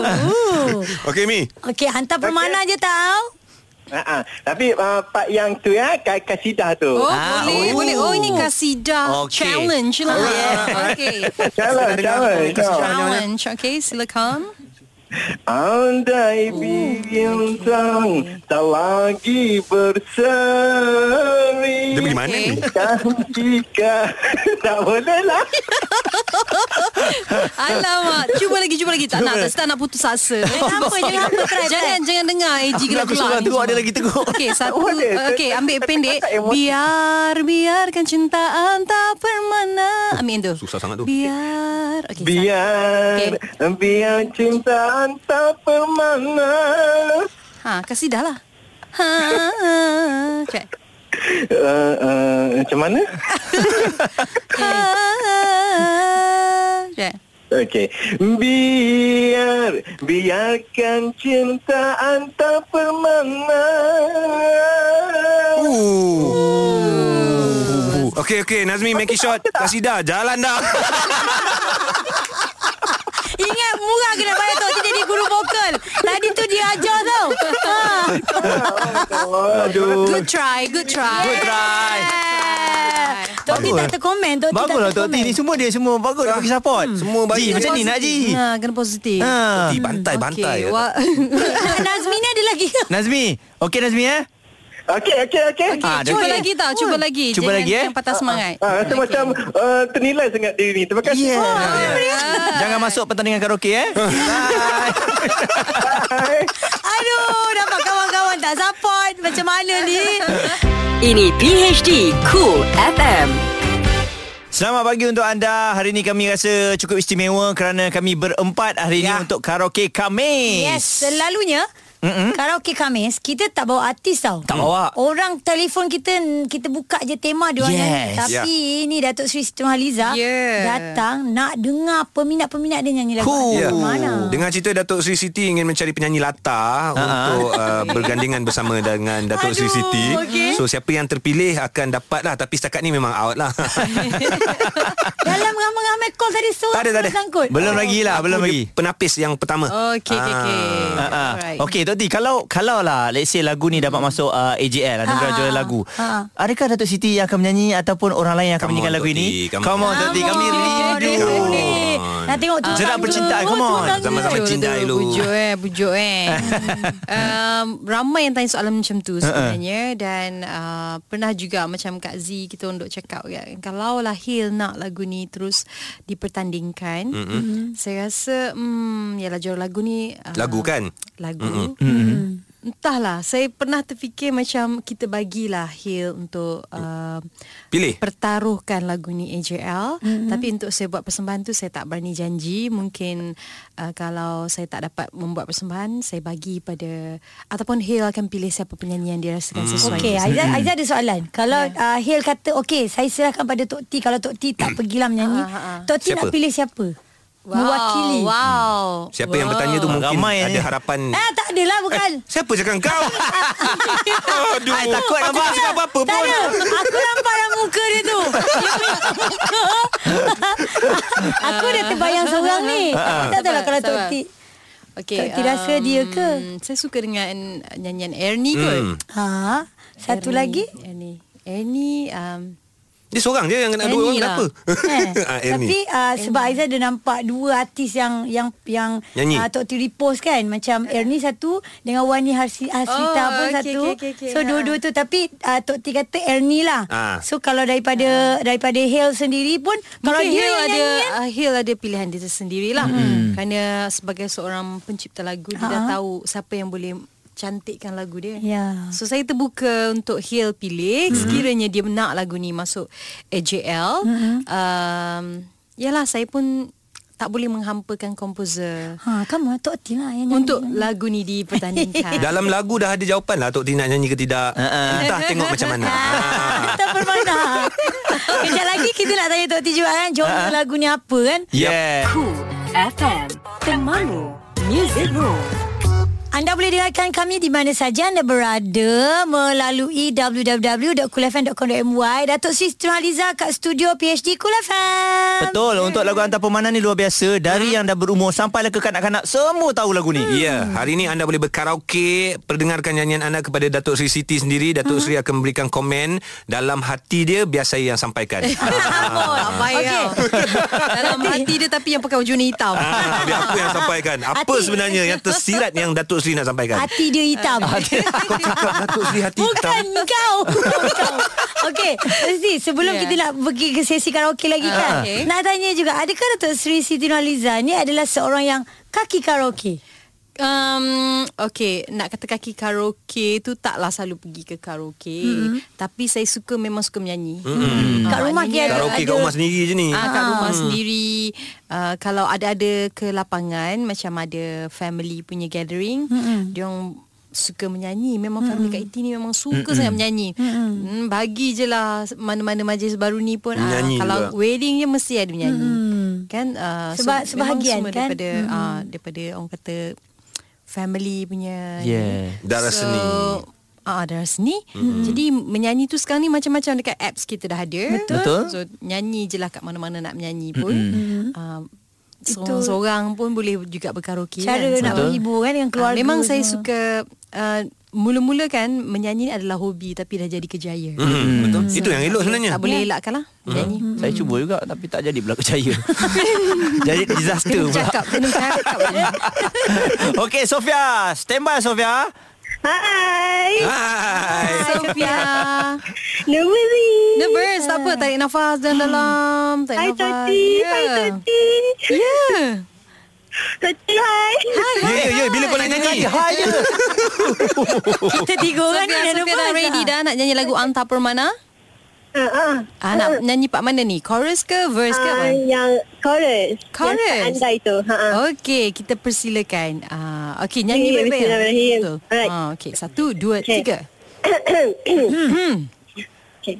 Speaker 4: Okey Mi.
Speaker 2: Okey hantar permana je tau
Speaker 6: Ha Tapi uh, part yang tu ya, ka- kasidah tu.
Speaker 5: Oh,
Speaker 1: Ah,
Speaker 4: Ha.
Speaker 5: boleh,
Speaker 1: oh.
Speaker 5: boleh. Oh, ini kasidah
Speaker 1: Okey.
Speaker 5: challenge lah. Okay.
Speaker 6: Jalan, jalan, jalan.
Speaker 5: Challenge, okay, silakan.
Speaker 6: Andai
Speaker 4: Oh.
Speaker 6: bintang tak lagi berseri
Speaker 4: Dia pergi mana ni?
Speaker 6: Dan jika tak boleh lah
Speaker 5: Alamak, cuba lagi, cuba lagi. Tak nak, tak sedap nak putus asa. Kenapa? jangan apa try. Jangan, jangan dengar AG
Speaker 1: Bila aku
Speaker 5: gelap-gelap
Speaker 1: seorang
Speaker 5: ni
Speaker 1: teruk
Speaker 5: semua.
Speaker 1: Dia lagi teruk
Speaker 5: Okey, satu.
Speaker 6: Oh, dia-
Speaker 5: uh, Okey, ambil pendek.
Speaker 6: tak emosi.
Speaker 5: Biar, biarkan cintaan tak permana. Amin tu.
Speaker 4: Susah sangat tu.
Speaker 5: Biar. Okey, satu.
Speaker 6: Biar Biar cinta tak permana
Speaker 5: Ha, kasih dah lah. Ha, Cek.
Speaker 6: uh, uh, Macam mana?
Speaker 5: Ha, Cek.
Speaker 6: Okey Biar Biarkan cintaan tak permana
Speaker 4: Ooh. Okey okey Nazmi make it short. Kasida jalan dah.
Speaker 2: Ingat murah kena bayar Tok T jadi guru vokal Tadi tu dia ajar tau ha.
Speaker 1: Aduh
Speaker 5: Good try, good try.
Speaker 1: Good try.
Speaker 2: Tok T tak terkomen Tok T tak
Speaker 1: Baguslah lah, Tok T
Speaker 2: terkomen
Speaker 1: Ni semua dia semua Bagus dia bagi support
Speaker 4: Ah, Semua baik.
Speaker 1: Ji macam ni nak Ji
Speaker 5: Ha, kena positif.
Speaker 1: ha.
Speaker 4: Di bantai bantai.
Speaker 5: Okay. Wah.
Speaker 2: Nazmi ni ada lagi
Speaker 1: Nazmi Okey Nazmi eh
Speaker 6: Okey, okey, okey
Speaker 1: Ah,
Speaker 5: cuba
Speaker 1: dia-
Speaker 5: lagi tau, cuba lagi.
Speaker 1: Cuba
Speaker 5: Jangan
Speaker 1: lagi, eh.
Speaker 5: Jangan patah semangat.
Speaker 6: Ah, rasa macam uh, ternilai sangat diri ni. Terima kasih. Oh,
Speaker 1: Yeah.
Speaker 5: Yeah.
Speaker 1: Jangan masuk pertandingan karaoke eh
Speaker 6: Bye.
Speaker 2: Aduh dapat kawan-kawan tak support Macam mana ni
Speaker 3: Ini PHD Cool FM
Speaker 1: Selamat pagi untuk anda Hari ni kami rasa cukup istimewa Kerana kami berempat hari
Speaker 2: Ya.
Speaker 1: ni Untuk karaoke kami
Speaker 2: Yes selalunya Mm-mm. Karaoke Khamis Kita tak bawa artis tau
Speaker 1: Tak bawa.
Speaker 2: Orang telefon kita Kita buka je tema dia orang
Speaker 1: Yes.
Speaker 2: nyanyi Tapi yeah. ni Datuk Sri Siti Nurhaliza
Speaker 5: Yeah.
Speaker 2: Datang Nak dengar peminat-peminat dia nyanyi lagu
Speaker 5: Oh,
Speaker 2: artis
Speaker 1: Cool.
Speaker 4: Ya.
Speaker 2: Mana
Speaker 4: Dengan cerita Datuk Sri Siti ingin mencari penyanyi
Speaker 1: Ha,
Speaker 4: latar untuk uh, bergandingan bersama dengan Datuk Sri
Speaker 5: Aduh,
Speaker 4: Siti.
Speaker 5: okey.
Speaker 4: So siapa yang terpilih akan dapat lah tapi setakat ni memang out lah.
Speaker 5: Ah.
Speaker 2: Dalam ramai-ramai call tadi Seorang
Speaker 4: Tak ada, tak ada.
Speaker 2: pun sangkut
Speaker 1: Belum lagi lah, belum
Speaker 4: Aku
Speaker 1: lagi.
Speaker 4: dia Penapis yang pertama.
Speaker 5: Okey, okey, okey.
Speaker 4: Ah.
Speaker 1: Ha, ha.
Speaker 5: Alright.
Speaker 1: Okey Tok T kalau kalau lah let's say lagu ni dapat masuk uh, AJL anugerah
Speaker 2: Ah,
Speaker 1: juara lagu.
Speaker 2: ah.
Speaker 1: Adakah Datuk Siti yang akan menyanyi ataupun orang lain yang akan
Speaker 4: Come
Speaker 1: menyanyikan
Speaker 4: on,
Speaker 1: lagu
Speaker 4: Tok T,
Speaker 1: ini?
Speaker 4: come
Speaker 1: Come on Tok T kami
Speaker 5: Oh,
Speaker 1: rindu.
Speaker 4: Come on.
Speaker 2: Nak tengok tu
Speaker 5: kan,
Speaker 1: Sedap percintaan, come on.
Speaker 4: Zaman-zaman
Speaker 5: Betul,
Speaker 4: cinta
Speaker 5: betul.
Speaker 4: dulu.
Speaker 5: Bujuk eh Bujuk eh um, Ramai yang tanya soalan macam
Speaker 1: Uh-uh.
Speaker 5: tu sebenarnya Dan uh, pernah juga macam Kak Z kita untuk cakap kan Kalau lah Hil nak lagu ni terus dipertandingkan mm-hmm. Saya rasa hmm, Yalah juara lagu ni uh,
Speaker 4: Lagu kan?
Speaker 5: Lagu
Speaker 1: Mm-hmm.
Speaker 5: Mm-mm. Entahlah Saya pernah terfikir macam Kita bagilah Hil untuk
Speaker 1: Mm.
Speaker 5: uh,
Speaker 4: Pilih.
Speaker 5: pertaruhkan lagu ni AJL mm-hmm. tapi untuk saya buat persembahan tu saya tak berani janji mungkin uh, kalau saya tak dapat membuat persembahan saya bagi pada ataupun Hil akan pilih siapa penyanyi yang dia rasakan sesuai Ya.
Speaker 2: Okey,
Speaker 5: dengan
Speaker 2: Aizah, Aizah ada soalan. Kalau yeah. uh, Hil kata, okey, saya serahkan pada Tok T. Kalau Tok T tak pergilah menyanyi,
Speaker 5: Ah, ah, ah.
Speaker 2: Tok T
Speaker 4: Siapa?
Speaker 2: nak pilih siapa?
Speaker 5: saya. wow,
Speaker 2: Mewakili.
Speaker 5: wow
Speaker 4: Siapa
Speaker 5: wow. Eh.
Speaker 4: yang bertanya tu mungkin
Speaker 1: Ramai
Speaker 4: ada
Speaker 1: ni.
Speaker 4: harapan.
Speaker 2: Ah, tak adalah bukan.
Speaker 4: Siapa cakap kau? Aduh.
Speaker 1: Ai, takut
Speaker 4: Aku
Speaker 1: nampak.
Speaker 4: tak cakap apa-apa
Speaker 2: tak
Speaker 4: pun.
Speaker 2: ada. Aku nampak dalam muka dia tu. Dia punya muka. Aku dah terbayang seorang ni. Aku tak tahu lah kalau Tok
Speaker 5: Sabar.
Speaker 2: T.
Speaker 5: okay,
Speaker 2: Tok T rasa dia ke?
Speaker 5: um, saya suka dengan nyanyian Ernie kot
Speaker 4: Hmm.
Speaker 2: Ha, satu
Speaker 5: Ernie,
Speaker 2: lagi.
Speaker 5: Ernie Ernie um,
Speaker 4: Dia seorang je yang nak dua
Speaker 5: Ernie
Speaker 4: orang
Speaker 5: lah.
Speaker 4: kenapa?
Speaker 2: Eh,
Speaker 4: Ah,
Speaker 2: tapi
Speaker 4: Ernie.
Speaker 2: uh, sebab Aizah ada nampak dua artis yang yang yang
Speaker 4: Nyanyi.
Speaker 2: uh, Tok T repost kan macam Ernie satu dengan Wani Harsi, Hasrita
Speaker 5: Oh,
Speaker 2: pun
Speaker 5: okey,
Speaker 2: satu.
Speaker 5: okey, okey, okey.
Speaker 2: So dua-dua tu tapi uh, Tok T kata Ernie lah.
Speaker 4: Ah.
Speaker 2: So kalau daripada daripada Hale sendiri pun kalau
Speaker 5: Ah. Mungkin
Speaker 2: dia
Speaker 5: Hil
Speaker 2: yang
Speaker 5: ada
Speaker 2: nyanyi kan,
Speaker 5: uh, Hil ada pilihan dia sendirilah hmm. kerana sebagai seorang pencipta lagu dia dah tahu siapa yang boleh cantikkan lagu dia.
Speaker 2: Ya.
Speaker 5: So saya terbuka untuk Hil pilih hmm. sekiranya dia nak lagu ni masuk AJL. Hmm. Um, yalah saya pun tak boleh menghampakan komposer
Speaker 2: Ha, kamu Tok T lah yang nyanyi.
Speaker 5: untuk lagu ni dipertandingkan.
Speaker 4: Dalam lagu dah ada jawapan lah Tok T nak nyanyi ke tidak.
Speaker 1: Ha,
Speaker 4: Entah tengok macam mana. Ah.
Speaker 2: Kita permana. Kejap lagi kita nak tanya Tok T juga kan
Speaker 4: Ah.
Speaker 2: genre lagu ni apa kan?
Speaker 4: Ya,
Speaker 1: Yeah.
Speaker 3: Cool FM Temanmu Music Room
Speaker 2: Anda boleh dengarkan kami di mana saja anda berada melalui www.kulafm.com.my. Datuk Sri Siti Nurhaliza kat studio PhD Kulafm.
Speaker 1: Betul untuk lagu hantar permainan ni luar biasa dari yang dah berumur sampailah ke kanak-kanak semua tahu lagu ni.
Speaker 4: Ya, hari ini anda boleh berkaraoke, perdengarkan nyanyian anda kepada Datuk Sri Siti sendiri. Datuk Sri akan memberikan komen dalam hati dia biar saya yang sampaikan. Ah.
Speaker 5: Ambon, tak payah.
Speaker 2: Okey.
Speaker 5: Dalam hati dia tapi yang pakai warna hitam.
Speaker 4: Ah, biar aku yang sampaikan. Apa
Speaker 2: Hati.
Speaker 4: sebenarnya yang tersirat yang Datuk Sri nak sampaikan?
Speaker 2: Hati dia hitam.
Speaker 5: Ah.
Speaker 4: Kau cakap Datuk Sri hati hitam.
Speaker 2: Bukan kau. kau. Okey, Sri, sebelum
Speaker 5: Ya.
Speaker 2: kita nak pergi ke sesi karaoke lagi kan.
Speaker 5: okey.
Speaker 2: Nak tanya juga, adakah Datuk Sri Siti Nurhaliza ni adalah seorang yang kaki karaoke?
Speaker 5: Um, okay, nak kata kaki karaoke tu taklah selalu pergi ke karaoke. Mm-hmm. Tapi saya suka memang suka menyanyi. Mm-hmm.
Speaker 2: Kat rumah dia ada-
Speaker 4: Karaoke kat rumah sendiri je ni.
Speaker 5: Ah, kat rumah sendiri uh, kalau ada-ada ke lapangan macam ada family punya gathering mm-hmm. dia orang suka menyanyi memang mm-hmm. family kat Iti ni memang suka mm-hmm. sangat menyanyi mm-hmm. hmm, bagi je lah mana-mana majlis baru ni pun ah,
Speaker 4: Menyanyi
Speaker 5: kalau
Speaker 4: juga.
Speaker 5: wedding je mesti ada menyanyi mm-hmm. kan uh,
Speaker 2: Sebab-
Speaker 5: memang
Speaker 2: sebahagian,
Speaker 5: semua
Speaker 2: kan?
Speaker 5: daripada mm-hmm. uh, daripada orang kata family punya ni.
Speaker 1: Yeah.
Speaker 4: Darah seni.
Speaker 5: Ah, darah seni. Mm-hmm. Jadi menyanyi tu sekarang ni macam-macam dekat apps kita dah ada.
Speaker 1: Betul. Betul.
Speaker 5: So nyanyi je lah kat mana-mana nak menyanyi pun. Mm-hmm. Uh, seorang-seorang pun boleh juga berkaraoke.
Speaker 2: Cara
Speaker 5: kan?
Speaker 2: nak
Speaker 5: So,
Speaker 2: menghibur kan dengan
Speaker 5: ah,
Speaker 2: keluarga.
Speaker 5: Memang saya
Speaker 2: semua.
Speaker 5: suka uh, mula-mula kan menyanyi ni adalah hobi tapi dah jadi kerjaya. Mm-hmm.
Speaker 4: Hmm, betul. Itu yang elok sebenarnya.
Speaker 5: Tak
Speaker 2: Ya.
Speaker 5: boleh elakkan lah menyanyi.
Speaker 1: Saya cuba juga tapi tak jadi pula percaya. jadi disaster
Speaker 5: Kena
Speaker 1: pula.
Speaker 5: cakap, kena cakap.
Speaker 1: Okey Sofia, stand by Sofia.
Speaker 7: Hai.
Speaker 4: Hai.
Speaker 5: Sophia.
Speaker 7: Nervous.
Speaker 5: Ya. Nervous, tak apa. Tarik nafas dan dalam. Tarik
Speaker 7: Hai
Speaker 5: nafas.
Speaker 7: Tati.
Speaker 5: Ya.
Speaker 7: Hai Tati.
Speaker 5: Yeah.
Speaker 7: Tati hai.
Speaker 4: Ya, ya, ya. Bila kau nak nyanyi?
Speaker 1: Ha ya.
Speaker 2: Kita tiga orang ni
Speaker 5: Sophia,
Speaker 2: dah
Speaker 5: Sophia dah
Speaker 2: nervous
Speaker 5: ready
Speaker 2: dah.
Speaker 5: dah nak nyanyi lagu Anta Permana.
Speaker 7: Ha, ha.
Speaker 5: Ah,
Speaker 7: Ah,
Speaker 5: nak nyanyi part mana ni? Chorus ke? Verse ke?
Speaker 7: ah,
Speaker 5: apa?
Speaker 7: yang chorus.
Speaker 5: Chorus?
Speaker 7: Yang tak andai tu. Ha. ah.
Speaker 5: Okey, kita persilakan. Ah, okey, nyanyi
Speaker 7: Okey,
Speaker 5: baik-baik. ya?
Speaker 7: bismillahirrahmanirrahim.
Speaker 5: Betul.
Speaker 7: Alright.
Speaker 5: Ah, okey, satu, dua,
Speaker 7: Okey.
Speaker 5: tiga. Hmm,
Speaker 7: Okay.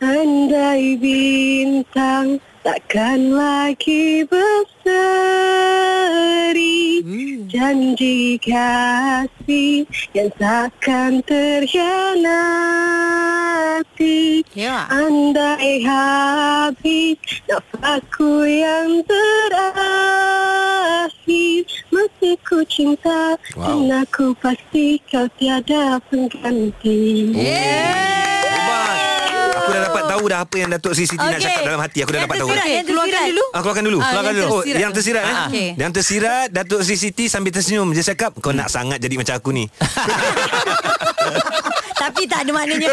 Speaker 7: Andai bintang takkan lagi berseri Janji kasih yang takkan terkhianati
Speaker 5: Ya.
Speaker 7: Andai habis nafasku yang terakhir Masih ku cinta
Speaker 4: Wow.
Speaker 7: dan aku pasti kau tiada pengganti
Speaker 4: Hebat. Aku dah dapat tahu dah apa yang Datuk Sri Siti okay. nak
Speaker 5: Okey.
Speaker 4: cakap dalam hati. Aku dah
Speaker 2: Yang
Speaker 4: dapat tahu.
Speaker 2: tersirat,
Speaker 5: Okey,
Speaker 2: yang
Speaker 5: keluarkan
Speaker 2: tersirat.
Speaker 5: dulu.
Speaker 4: Ah, keluarkan dulu.
Speaker 5: Ah,
Speaker 4: keluarkan
Speaker 5: yang
Speaker 4: dulu. Oh,
Speaker 5: tersirat.
Speaker 4: yang tersirat eh.
Speaker 5: Ah, okey.
Speaker 4: Yang tersirat Datuk Sri Siti sambil tersenyum. Dia cakap, "Kau nak sangat jadi macam aku ni."
Speaker 2: Tapi tak ada maknanya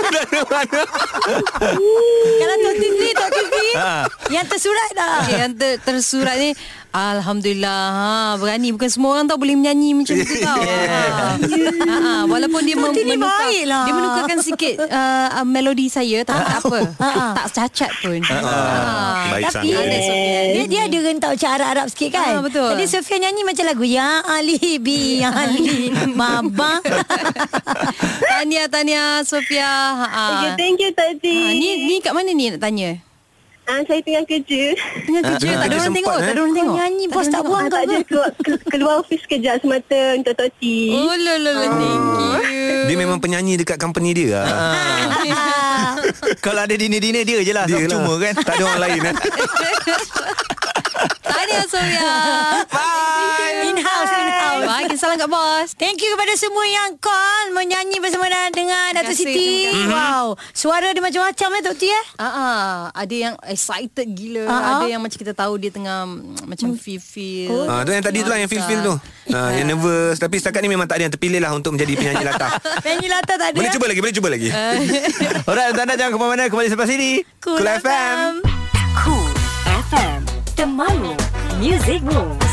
Speaker 2: Kalau Tok Titi Tok Titi
Speaker 4: Ah.
Speaker 2: Yang tersurat dah
Speaker 5: Okey, yang ter, tersurat ni Alhamdulillah ha, Berani Bukan semua orang tau Boleh menyanyi macam tu tau ha. Ha, Walaupun dia mem-
Speaker 2: Tati ni
Speaker 5: menukar,
Speaker 2: baiklah.
Speaker 5: Dia menukarkan sikit uh, uh, Melodi saya Tak apa
Speaker 2: Ah, ah.
Speaker 5: Tak cacat pun
Speaker 4: Ah,
Speaker 5: ha.
Speaker 4: baik
Speaker 2: Tapi
Speaker 4: sangat.
Speaker 5: ada Sofian.
Speaker 2: dia, dia ada rentau macam Arab-Arab sikit kan
Speaker 5: Ah, betul.
Speaker 2: Jadi Sofia nyanyi macam lagu Ya Ali bi Ya Ali Mama
Speaker 5: Ha. Tahniah Tahniah Sofia ha.
Speaker 7: Okay, thank you Tati.
Speaker 5: ha. Ni, ni kat mana ni nak tanya
Speaker 7: Ah, saya tengah kerja.
Speaker 5: Tengah kerja
Speaker 4: tengah
Speaker 5: Tak ada
Speaker 4: kerja
Speaker 5: orang
Speaker 4: sempat,
Speaker 5: tengok Tak
Speaker 4: eh.
Speaker 5: ada orang
Speaker 2: Kau
Speaker 5: tengok
Speaker 2: nyanyi, bos
Speaker 5: ada
Speaker 2: tak
Speaker 5: orang
Speaker 2: buang
Speaker 7: Ah,
Speaker 2: kau
Speaker 5: tengok.
Speaker 7: tak
Speaker 2: ke?
Speaker 7: ada keluar, ke- keluar office kerja semata untuk Ah. Tati.
Speaker 5: Oh lolo Thank you
Speaker 4: Dia memang penyanyi dekat company dia. Ah.
Speaker 7: Hmm.
Speaker 1: Kalau ada dinner-dinner dia je lah Dia
Speaker 4: Dia lah.
Speaker 1: Cuma kan
Speaker 4: Tak ada orang lain eh.
Speaker 5: Tahniah Sofia Bye
Speaker 2: In-house In-house
Speaker 5: Bye Kita salam kat bos
Speaker 2: Thank you kepada semua yang call Menyanyi bersama dan- dengan
Speaker 5: Terima
Speaker 2: Dato'
Speaker 5: kasih,
Speaker 2: Siti
Speaker 4: Mm-hmm.
Speaker 5: terima
Speaker 2: Wow Suara dia macam-macam eh Tok T eh
Speaker 5: Ah, uh ada yang excited gila,
Speaker 2: Ah, ah.
Speaker 5: ada yang macam kita tahu dia tengah mm, macam feel feel.
Speaker 2: Oh,
Speaker 4: Ah, tu yang tadi tu lah yang feel-feel tu. Ah, yang nervous. Tapi setakat ni memang tak ada yang terpilih lah untuk menjadi penyanyi latar.
Speaker 2: Penyanyi latar tak ada
Speaker 4: boleh
Speaker 2: eh?
Speaker 4: cuba lagi, boleh cuba lagi.
Speaker 1: Alright untuk anda jangan ke mana-mana Kembali selepas ini
Speaker 2: Cool FM.
Speaker 3: Cool FM Temanmu Music Rules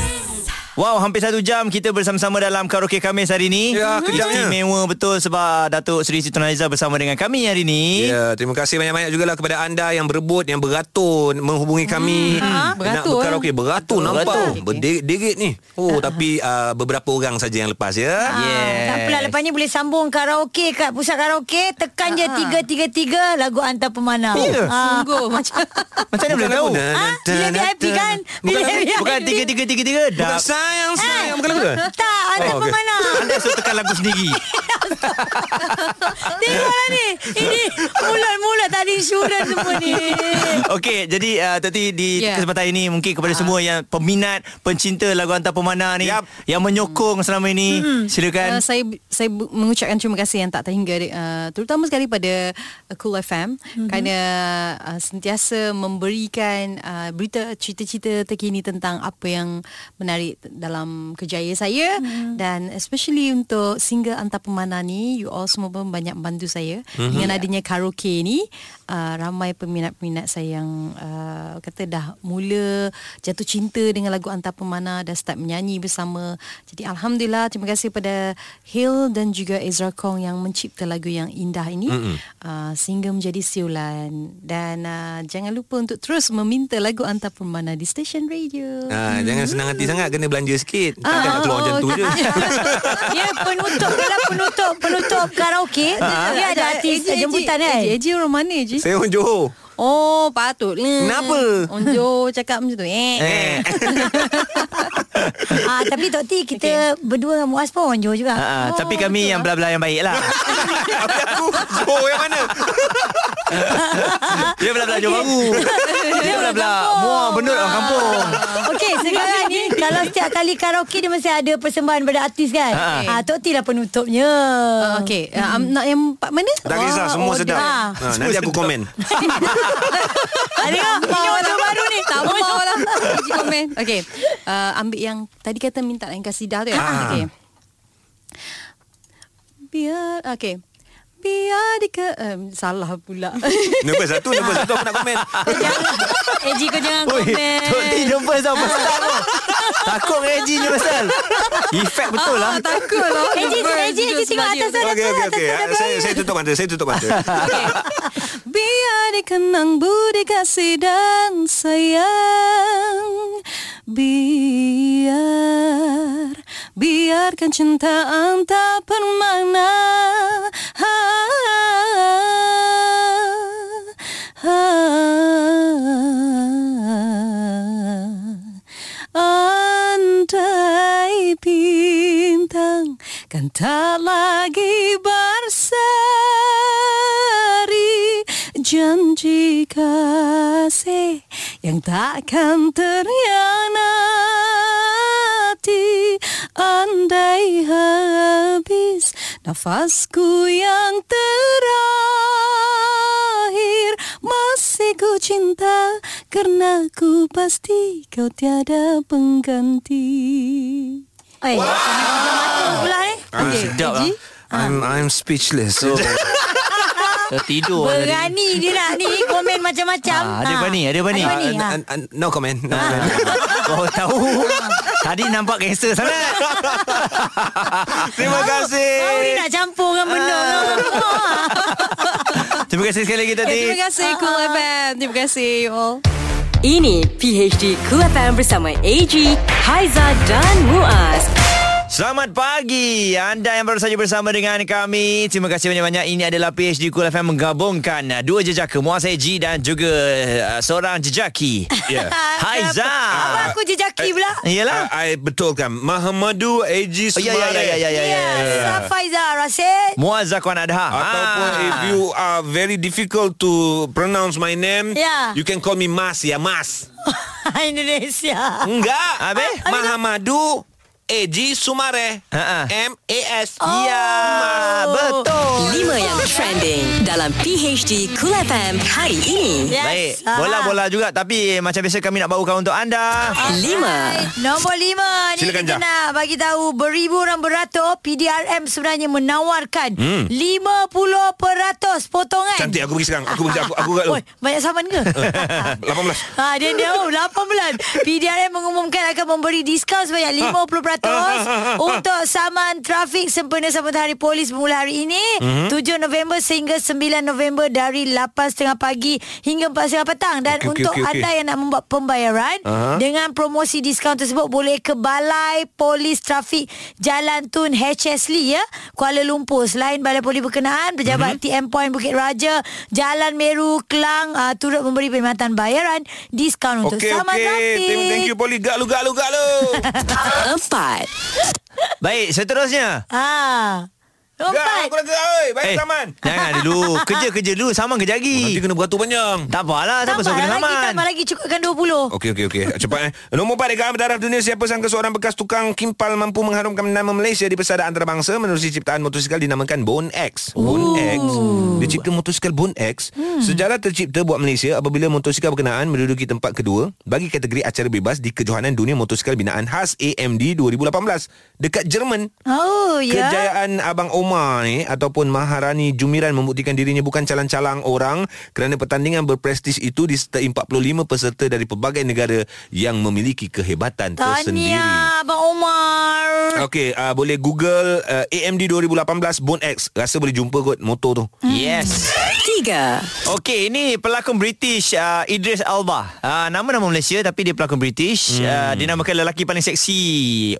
Speaker 1: Wow, hampir satu jam kita bersama-sama dalam karaoke kami hari ini.
Speaker 4: Ya, kejapnya.
Speaker 1: Istimewa betul sebab Datuk Seri Siti Nurhaliza bersama dengan kami hari ini.
Speaker 4: Ya, terima kasih banyak-banyak jugalah kepada anda yang berebut, yang beratur menghubungi kami. Hmm. Nak
Speaker 5: Beratur,
Speaker 4: berkaraoke, beratur nampak.
Speaker 1: Beratur.
Speaker 4: Beratur. Berderit-derit ni. Oh, tapi uh, beberapa orang saja yang lepas ya.
Speaker 1: Yes.
Speaker 2: Tak apalah lepas ni boleh sambung karaoke kat pusat karaoke tekan je 333 lagu antar Ah. pemanah.
Speaker 1: Ya.
Speaker 5: Sungguh macam
Speaker 1: Macam mana boleh tahu?
Speaker 2: Ah, bila VIP kan? Bila
Speaker 1: Bukan,
Speaker 2: VIP.
Speaker 1: bukan tiga tiga tiga tiga.
Speaker 4: Bukan
Speaker 1: Dah.
Speaker 4: sayang, sayang. Bukan lagu ke?
Speaker 2: Tak, antar
Speaker 4: Oh,
Speaker 2: oh,
Speaker 4: okey.
Speaker 2: pemanah.
Speaker 1: Anda suruh tekan lagu sendiri.
Speaker 2: Tengoklah ni. Ini mulut-mulut tak ada insurans semua ni.
Speaker 1: Okey, jadi uh, tadi di
Speaker 5: Ya.
Speaker 1: yeah. kesempatan ini mungkin
Speaker 8: Ah.
Speaker 1: kepada semua yang peminat, pencinta lagu antar pemana ni
Speaker 4: Yap.
Speaker 1: yang menyokong selama ini,
Speaker 8: Eh,
Speaker 5: uh,
Speaker 1: silakan.
Speaker 5: saya saya bu- mengucapkan terima kasih yang tak terhingga uh, terutama sekali pada uh, Cool FM mm-hmm. kerana uh, sentiasa memberikan uh, berita cerita-cerita terkini tentang apa yang menarik t- dalam kerjaya saya mm-hmm. dan especially untuk single antar pemanah ni you all semua pun banyak membantu saya mm-hmm. dengan adanya karaoke ni uh, ramai peminat-peminat saya yang uh, kata dah mula jatuh cinta dengan lagu antar pemana dah start menyanyi bersama. Jadi alhamdulillah terima kasih pada Hill dan juga Ezra Kong yang mencipta lagu yang indah ini mm-hmm. uh, sehingga menjadi siulan dan uh, jangan lupa untuk terus meminta lagu antar pemana di stesen radio.
Speaker 4: Ah, jangan senang hati sangat Kena belanja sikit
Speaker 2: Ah,
Speaker 4: Takkan nak keluar macam tu
Speaker 2: oh,
Speaker 4: je
Speaker 2: Ya penutup kalau penutup penutup karaoke dia ada artis jemputan kan.
Speaker 5: Eji, Eji orang mana Eji?
Speaker 4: Ah. Saya orang Johor
Speaker 5: Oh patut
Speaker 4: Kenapa?
Speaker 5: Onjo cakap macam tu Eh, eh.
Speaker 1: Eh.
Speaker 2: Ah tapi Tok T kita berdua dengan Muaz pun orang Johor juga. Oh.
Speaker 1: Ah, ah, tapi
Speaker 8: Oh,
Speaker 1: kami yang belah-belah yang baik lah
Speaker 4: Habis aku Johor Oh, yang mana
Speaker 1: Dia belah-belah Johor Baru Dia belah-belah Muar benar orang kampung
Speaker 2: Oh, Okey sekarang ni Kalau setiap kali karaoke Dia mesti ada persembahan pada artis kan
Speaker 1: Ha.
Speaker 2: okay. ah, Tok T lah penutupnya
Speaker 5: Uh, okay
Speaker 2: Ah,
Speaker 5: uh, um, Nak yang part mana?
Speaker 4: Tak kisah semua
Speaker 2: oh,
Speaker 4: sedap
Speaker 2: dah.
Speaker 4: ha, Nanti aku komen
Speaker 5: Ada yang
Speaker 2: Ini order
Speaker 5: baru ni Tak mau lah Uji komen Okay uh, Ambil yang Tadi kata minta
Speaker 2: Ah.
Speaker 5: yang kasidah tu ya
Speaker 4: Ah.
Speaker 5: Okay Biar Okay
Speaker 8: biar ke um, salah pula.
Speaker 4: Nombor satu Nombor satu aku nak komen
Speaker 2: Eji Eh, kau jangan
Speaker 1: Oi,
Speaker 2: komen.
Speaker 1: Tok T jumpa tau pasal tu. Takut dengan Eji ni pasal. Efek betul
Speaker 8: Ah,
Speaker 1: lah.
Speaker 8: takut lah.
Speaker 2: Eji, Eji, Eji tengok atas sana.
Speaker 4: Okey okey okey Saya saya tutup mata Saya tutup mata
Speaker 8: Biar dikenang budi kasih dan sayang Biar Biarkan cintaan tak permana ha, ha, ha. Andai bintang Kan tak lagi berseri Janji kasih Yang takkan terhianati Andai habis Nafasku yang terakhir Masih ku cinta Karena ku pasti kau tiada pengganti
Speaker 2: Eh, wow. pula eh.
Speaker 4: Ah,
Speaker 8: Okey,
Speaker 1: sedap lah.
Speaker 8: Eji.
Speaker 4: I'm
Speaker 2: Ah.
Speaker 4: I'm speechless so,
Speaker 1: Tertidur lah tadi.
Speaker 2: Berani dia nak ni komen macam-macam.
Speaker 1: Ah, ada berani, ada berani.
Speaker 2: Ada Ah. berani.
Speaker 4: uh,
Speaker 2: ha.
Speaker 4: n- n- No comment No comment
Speaker 1: Kau tahu Tadi nampak gangster sangat
Speaker 4: Terima kasih
Speaker 2: Kau ni nak campur dengan benda orang
Speaker 1: Ah.
Speaker 2: semua.
Speaker 1: Terima kasih sekali lagi
Speaker 8: Eh,
Speaker 1: tadi
Speaker 8: terima kasih Cool FM. Terima kasih you all.
Speaker 3: Ah, Ini PHD Cool FM bersama AG, Haiza dan Muaz.
Speaker 1: Selamat pagi Anda yang baru saja bersama dengan kami Terima kasih banyak-banyak Ini adalah PHD Cool FM Menggabungkan uh, dua jejaka Muaz Eji dan juga uh, Seorang jejaki
Speaker 4: Ya.
Speaker 1: Haiza
Speaker 2: Apa
Speaker 1: Ah.
Speaker 2: aku jejaki pula?
Speaker 1: Yelah
Speaker 4: Ah. I, I Eh, betulkan Mahamadu AG
Speaker 1: Oh, ya, ya, ya, ya, ya, ya, ya, ya.
Speaker 2: Ya, Faiza Rasid.
Speaker 1: Muaz Zakwan Adha
Speaker 4: Ataupun
Speaker 1: Ah.
Speaker 4: if you are very difficult to pronounce my name,
Speaker 2: Yeah.
Speaker 4: you can call me Mas ya Mas.
Speaker 2: Indonesia.
Speaker 4: Enggak. Ah,
Speaker 1: Habis?
Speaker 4: Mahamadu Eji Sumare.
Speaker 1: Ha-ha.
Speaker 4: M A S.
Speaker 1: Ya Betul
Speaker 3: Lima yang trending dalam PHD Cool FM hari ini.
Speaker 2: Yes.
Speaker 1: Baik
Speaker 2: Ah.
Speaker 1: Bola-bola juga Tapi eh, macam biasa kami nak bawakan untuk anda
Speaker 3: Lima.
Speaker 2: Nombor lima ni
Speaker 4: Silakan,
Speaker 2: kita
Speaker 4: Jah.
Speaker 2: nak bagi tahu beribu orang beratur PDRM sebenarnya menawarkan hmm. 50% potongan.
Speaker 4: Cantik aku pergi sekarang. Aku pergi aku aku kat lu.
Speaker 2: Oi, banyak saman ke?
Speaker 4: 18.
Speaker 2: Ha, dia dia oh, 18. PDRM mengumumkan akan memberi diskaun
Speaker 4: Ah.
Speaker 2: sebanyak 50% untuk saman trafik sempena sambut hari polis bermula hari ini mm-hmm.
Speaker 4: Mhm.
Speaker 2: 7 November sehingga 9 November dari 8.30 pagi hingga 4.30 petang dan
Speaker 4: Okey, okey,
Speaker 2: untuk
Speaker 4: okey, okey.
Speaker 2: anda yang nak membuat pembayaran uh-huh. dengan promosi diskaun tersebut boleh ke Balai Polis Trafik Jalan Tun HSLI ya Kuala Lumpur selain Balai Polis berkenaan
Speaker 4: Mhm.
Speaker 2: pejabat mm-hmm. TM Point Bukit Raja Jalan Meru Kelang uh, turut memberi perkhidmatan bayaran diskaun untuk
Speaker 4: Okey
Speaker 2: sama
Speaker 4: okey.
Speaker 2: trafik
Speaker 4: Thank- Thank you Poli. Gak lu gak lu gak lu.
Speaker 3: Empat.
Speaker 1: Baik seterusnya
Speaker 2: ha
Speaker 4: Gak
Speaker 2: Lompat
Speaker 4: aku dah gak oi. Baik
Speaker 1: Eh,
Speaker 4: saman. Oh,
Speaker 1: jangan dulu. Kerja-kerja dulu. Saman kerja
Speaker 4: Nanti
Speaker 1: lagi.
Speaker 4: kena beratur panjang.
Speaker 1: Tak apalah. Tak apa.
Speaker 2: Tambah
Speaker 1: Sama kena
Speaker 2: lagi,
Speaker 1: saman.
Speaker 2: tambah lagi cukupkan 20
Speaker 4: Okey, okey, okey. Cepat eh. Nombor 4 dekat berdarah dunia siapa sangka seorang bekas tukang kimpal mampu mengharumkan nama Malaysia di pesada antarabangsa menerusi ciptaan motosikal dinamakan Bone X. Bone X. Dia cipta motosikal Bone X.
Speaker 2: Hmm.
Speaker 4: Sejarah tercipta buat Malaysia apabila motosikal berkenaan menduduki tempat kedua bagi kategori acara bebas di kejohanan dunia motosikal binaan khas AMD 2018 dekat Jerman.
Speaker 2: Oh ya
Speaker 4: Kejayaan Abang Omar ni ataupun Maharani Jumiran membuktikan dirinya bukan calang-calang orang kerana pertandingan berprestij itu disertai 45 peserta dari pelbagai negara yang memiliki kehebatan tersendiri.
Speaker 2: Tahniah Abang Omar
Speaker 4: Okey, uh, boleh Google uh, AMD 2018 Bone X. Rasa boleh jumpa kot motor tu.
Speaker 1: Yes.
Speaker 3: Tiga.
Speaker 1: Okey, ini pelakon British uh, Idris Alba. Uh, nama-nama Malaysia tapi dia pelakon British. Hmm. Uh, dinamakan lelaki paling seksi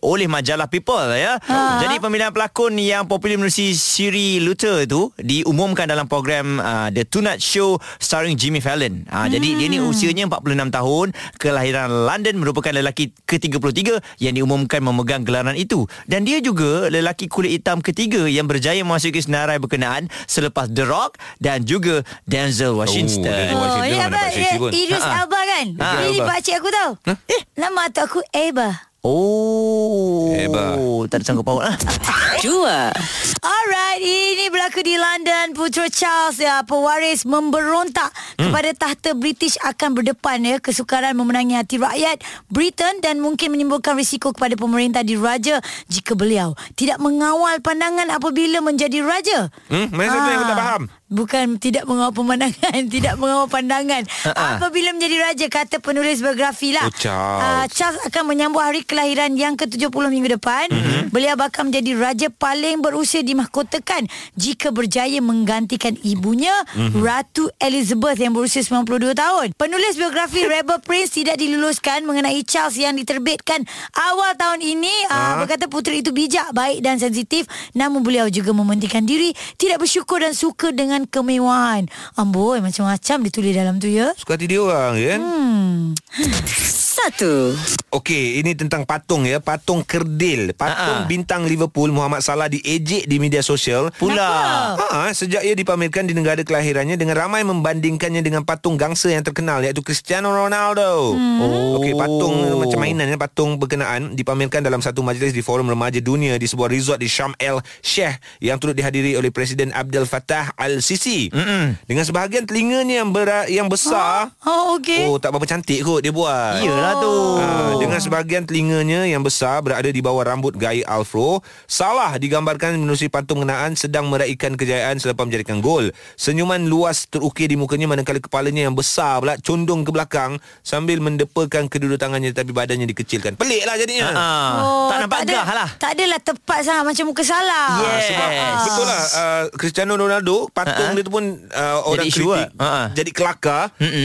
Speaker 1: oleh majalah People ya. Jadi pemilihan pelakon yang popular menerusi siri Luther itu diumumkan dalam program uh, The Tonight Show starring Jimmy Fallon. Uh, Jadi dia
Speaker 2: Hmm.
Speaker 1: ni usianya 46 tahun, kelahiran London merupakan lelaki ke-33 yang diumumkan memegang gelaran itu. Dan dia juga lelaki kulit hitam ketiga yang berjaya memasuki senarai berkenaan selepas The Rock dan juga Denzel Washington.
Speaker 4: Denzel.
Speaker 2: Oh,
Speaker 4: Washington
Speaker 2: ya
Speaker 4: mana
Speaker 2: abang,
Speaker 1: Ha,
Speaker 4: pakcik
Speaker 2: ya,
Speaker 4: sibun?
Speaker 2: Idris
Speaker 1: Ha-ha.
Speaker 2: Alba kan?
Speaker 4: Ha,
Speaker 2: Ini
Speaker 4: Alba.
Speaker 2: pakcik aku tahu. Eh, nama atuk aku Eba.
Speaker 1: Oh.
Speaker 4: Hebat.
Speaker 1: Tak ada sanggup paut lah.
Speaker 3: Dua.
Speaker 2: Alright, ini berlaku di London. Putera Charles ya, pewaris memberontak
Speaker 4: Hmm.
Speaker 2: kepada tahta British akan berdepan ya kesukaran memenangi hati rakyat Britain dan mungkin menimbulkan risiko kepada pemerintah diraja jika beliau tidak mengawal pandangan apabila menjadi raja.
Speaker 4: Hmm, mana satu yang aku tak
Speaker 2: Ah,
Speaker 4: faham?
Speaker 2: Bukan tidak mengawal pemandangan, tidak mengawal pandangan.
Speaker 1: Ha-ha.
Speaker 2: Apabila menjadi raja kata penulis biografi lah.
Speaker 4: Oh, Charles.
Speaker 2: Ah, Charles akan menyambut hari kelahiran yang ke-70 minggu depan.
Speaker 4: Mhm.
Speaker 2: Mm-hmm. Beliau bakal menjadi raja paling berusia dimahkotakan jika berjaya menggantikan ibunya
Speaker 1: Mhm.
Speaker 2: mm-hmm. Ratu Elizabeth yang berusia 92 tahun. Penulis biografi Rebel Prince tidak diluluskan mengenai Charles yang diterbitkan awal tahun ini ah. berkata puteri itu bijak, baik dan sensitif namun beliau juga mementingkan diri, tidak bersyukur dan suka dengan kemewahan. Amboi macam-macam ditulis dalam tu ya.
Speaker 4: Suka hati dia orang kan hmm.
Speaker 3: Satu.
Speaker 4: Okey ini tentang patung ya Patung kerdil Patung
Speaker 1: Ha-ha.
Speaker 4: bintang Liverpool Muhammad Salah diejek di media sosial
Speaker 1: Pula.
Speaker 4: Ha, sejak ia dipamerkan di negara kelahirannya dengan ramai membandingkannya dengan patung gangsa yang terkenal iaitu Cristiano Ronaldo. Hmm.
Speaker 1: Oh.
Speaker 4: Okey, patung eh, macam mainan ya, patung berkenaan dipamerkan dalam satu majlis di Forum Remaja Dunia di sebuah resort di Sharm El Sheikh yang turut dihadiri oleh Presiden Abdel Fattah Al-Sisi. Mm-mm. Dengan sebahagian telinganya yang ber, yang
Speaker 7: Ha?
Speaker 4: besar.
Speaker 2: Oh okey.
Speaker 4: Oh, tak berapa cantik kot dia buat.
Speaker 1: Iyalah tu.
Speaker 4: Ah, dengan sebahagian telinganya yang besar berada di bawah rambut gaya Alfro, Salah digambarkan menerusi pantun mengenaan sedang meraihkan kejayaan selepas menjadikan gol. Senyuman luas terukir di mukanya manakala kepalanya yang besar pula condong ke belakang sambil mendepakan kedua tangannya tapi badannya dikecilkan. Peliklah jadinya.
Speaker 1: Ah, tak nampak
Speaker 2: ada-
Speaker 1: gah lah.
Speaker 2: Oh,
Speaker 1: Ah,
Speaker 2: Tak adalah tepat sangat macam muka salah.
Speaker 1: Yes.
Speaker 4: Ha, Sebab betul lah uh, Cristiano Ronaldo patung
Speaker 1: Ha-ha.
Speaker 4: dia tu pun uh, orang
Speaker 1: isu
Speaker 4: kritik
Speaker 1: lah. Ha-ha.
Speaker 4: jadi kelakar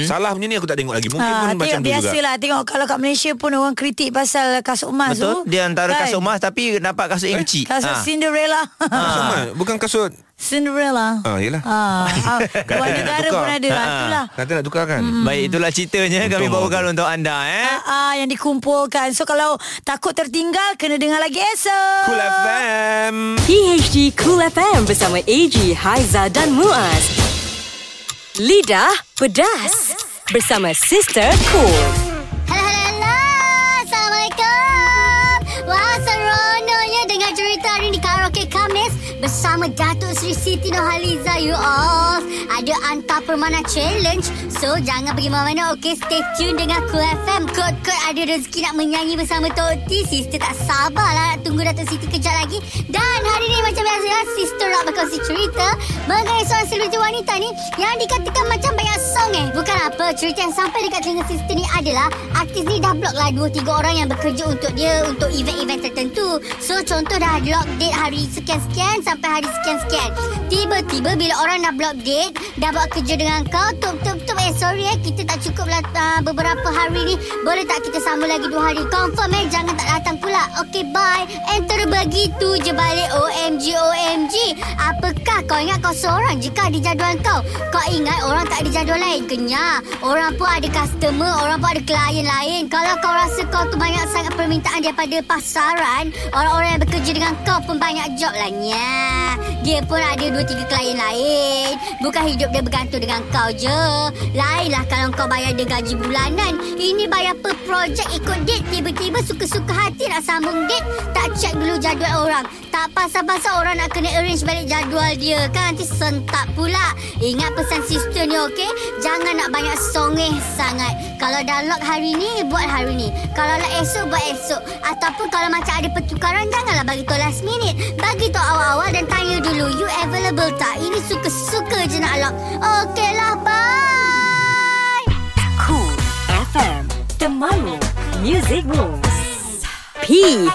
Speaker 4: salah punya ni aku tak tengok lagi mungkin
Speaker 2: Ah,
Speaker 4: pun
Speaker 2: tengok,
Speaker 4: macam tu juga
Speaker 2: biasalah tengok kalau kat Malaysia pun orang kritik pasal kasut emas
Speaker 1: Betul.
Speaker 2: tu.
Speaker 1: Dia antara
Speaker 2: kan? Eh,
Speaker 1: kasut emas tapi dapat kasut yang kecil.
Speaker 2: Kasut
Speaker 1: Ah.
Speaker 2: Cinderella.
Speaker 4: Kasut emas, bukan kasut
Speaker 2: Cinderella.
Speaker 4: Ah, yelah.
Speaker 2: Ah, ah, luar
Speaker 4: Kata nak
Speaker 2: negara
Speaker 4: tukar.
Speaker 2: pun ada. Ah,
Speaker 1: Ah.
Speaker 2: itulah.
Speaker 4: Kata nak tukar kan hmm.
Speaker 1: Baik itulah ceritanya kami
Speaker 4: Untung
Speaker 1: bawakan untuk anda eh.
Speaker 2: Ah, ah, yang dikumpulkan. So kalau takut tertinggal kena dengar lagi esok.
Speaker 4: Cool FM
Speaker 3: PHD Cool FM bersama AG, Haiza dan Muaz. Lidah pedas bersama Sister Cool.
Speaker 9: Hello, hello, hello. Assalamualaikum. Wah, seronoknya dengar cerita hari ni di Karaoke Kamis bersama Datuk Seri Siti Nohaliza, you all. Ada Anta Permana Challenge. So, jangan pergi mana-mana. Okay, stay tune dengan Cool FM. Kot-kot ada rezeki nak menyanyi bersama Tok T. Sister tak sabarlah nak tunggu Datuk Siti kejap lagi. Dan hari ni macam biasa, Sister nak berkongsi lah, cerita mengenai seorang selebriti wanita ni yang dikatakan macam banyak song eh. Bukan apa, cerita yang sampai dekat telinga sister ni adalah artis ni dah block lah 2-3 orang yang bekerja untuk dia untuk event-event tertentu. So contoh dah block date hari sekian-sekian sampai hari sekian-sekian. Tiba-tiba bila orang dah block date, dah buat kerja dengan kau, tup tup tup eh sorry eh kita tak cukup lah uh, beberapa hari ni. Boleh tak kita sambung lagi 2 hari? Confirm eh jangan tak datang pula. Okay bye. And terus begitu je balik OMG OMG. Apakah kau ingat kau seorang je kah di jadual kau? Kau ingat orang tak ada jadual lain? Kenyah. Orang pun ada customer, orang pun ada klien lain. Kalau kau rasa kau tu banyak sangat permintaan daripada pasaran, orang-orang yang bekerja dengan kau pun banyak job lah nyah. Dia pun ada dua tiga klien lain. Bukan hidup dia bergantung dengan kau je. Lainlah kalau kau bayar dia gaji bulanan. Ini bayar per projek ikut date. Tiba-tiba suka-suka hati nak sambung date. Tak check dulu jadual orang. Tak pasal-pasal orang nak kena arrange balik jadual dia kan. Nanti sentak pula. Ingat pesan sister ni okey? Jangan nak banyak songeh sangat. Kalau dah lock hari ni, buat hari ni. Kalau lock esok, buat esok. Ataupun kalau macam ada pertukaran, janganlah bagi tahu last minute. Bagi tahu awal-awal dan tanya dulu. You available tak? Ini suka-suka je nak lock. Okey lah, bye.
Speaker 3: Cool FM Temanmu Music Moves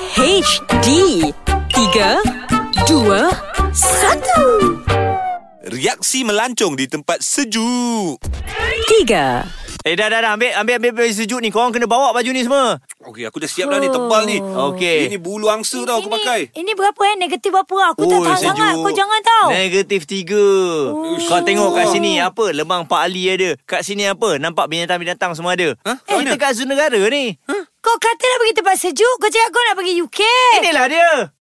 Speaker 3: PHD 3 2 1
Speaker 10: Reaksi melancong di tempat sejuk.
Speaker 3: 3
Speaker 1: Eh dah dah dah ambil ambil ambil, ambil sejuk ni. Korang kena bawa baju ni semua.
Speaker 10: Okey, aku dah siap dah ni tebal ni.
Speaker 1: Okey.
Speaker 10: Ini bulu angsa tau aku pakai.
Speaker 2: Oh. Ini berapa eh? Negatif berapa? Aku tak
Speaker 10: Oi,
Speaker 2: tahu
Speaker 10: sejuk.
Speaker 2: sangat. Kau jangan tahu.
Speaker 1: Negatif tiga Kau tengok kat sini Apa Lemang Pak Ali ada Kat sini apa Nampak binatang-binatang semua ada
Speaker 10: Hah?
Speaker 1: Eh kita kat zoo negara ni
Speaker 2: Kau kata nak pergi tempat sejuk. Kau cakap kau nak pergi UK. Ini,
Speaker 1: Inilah dia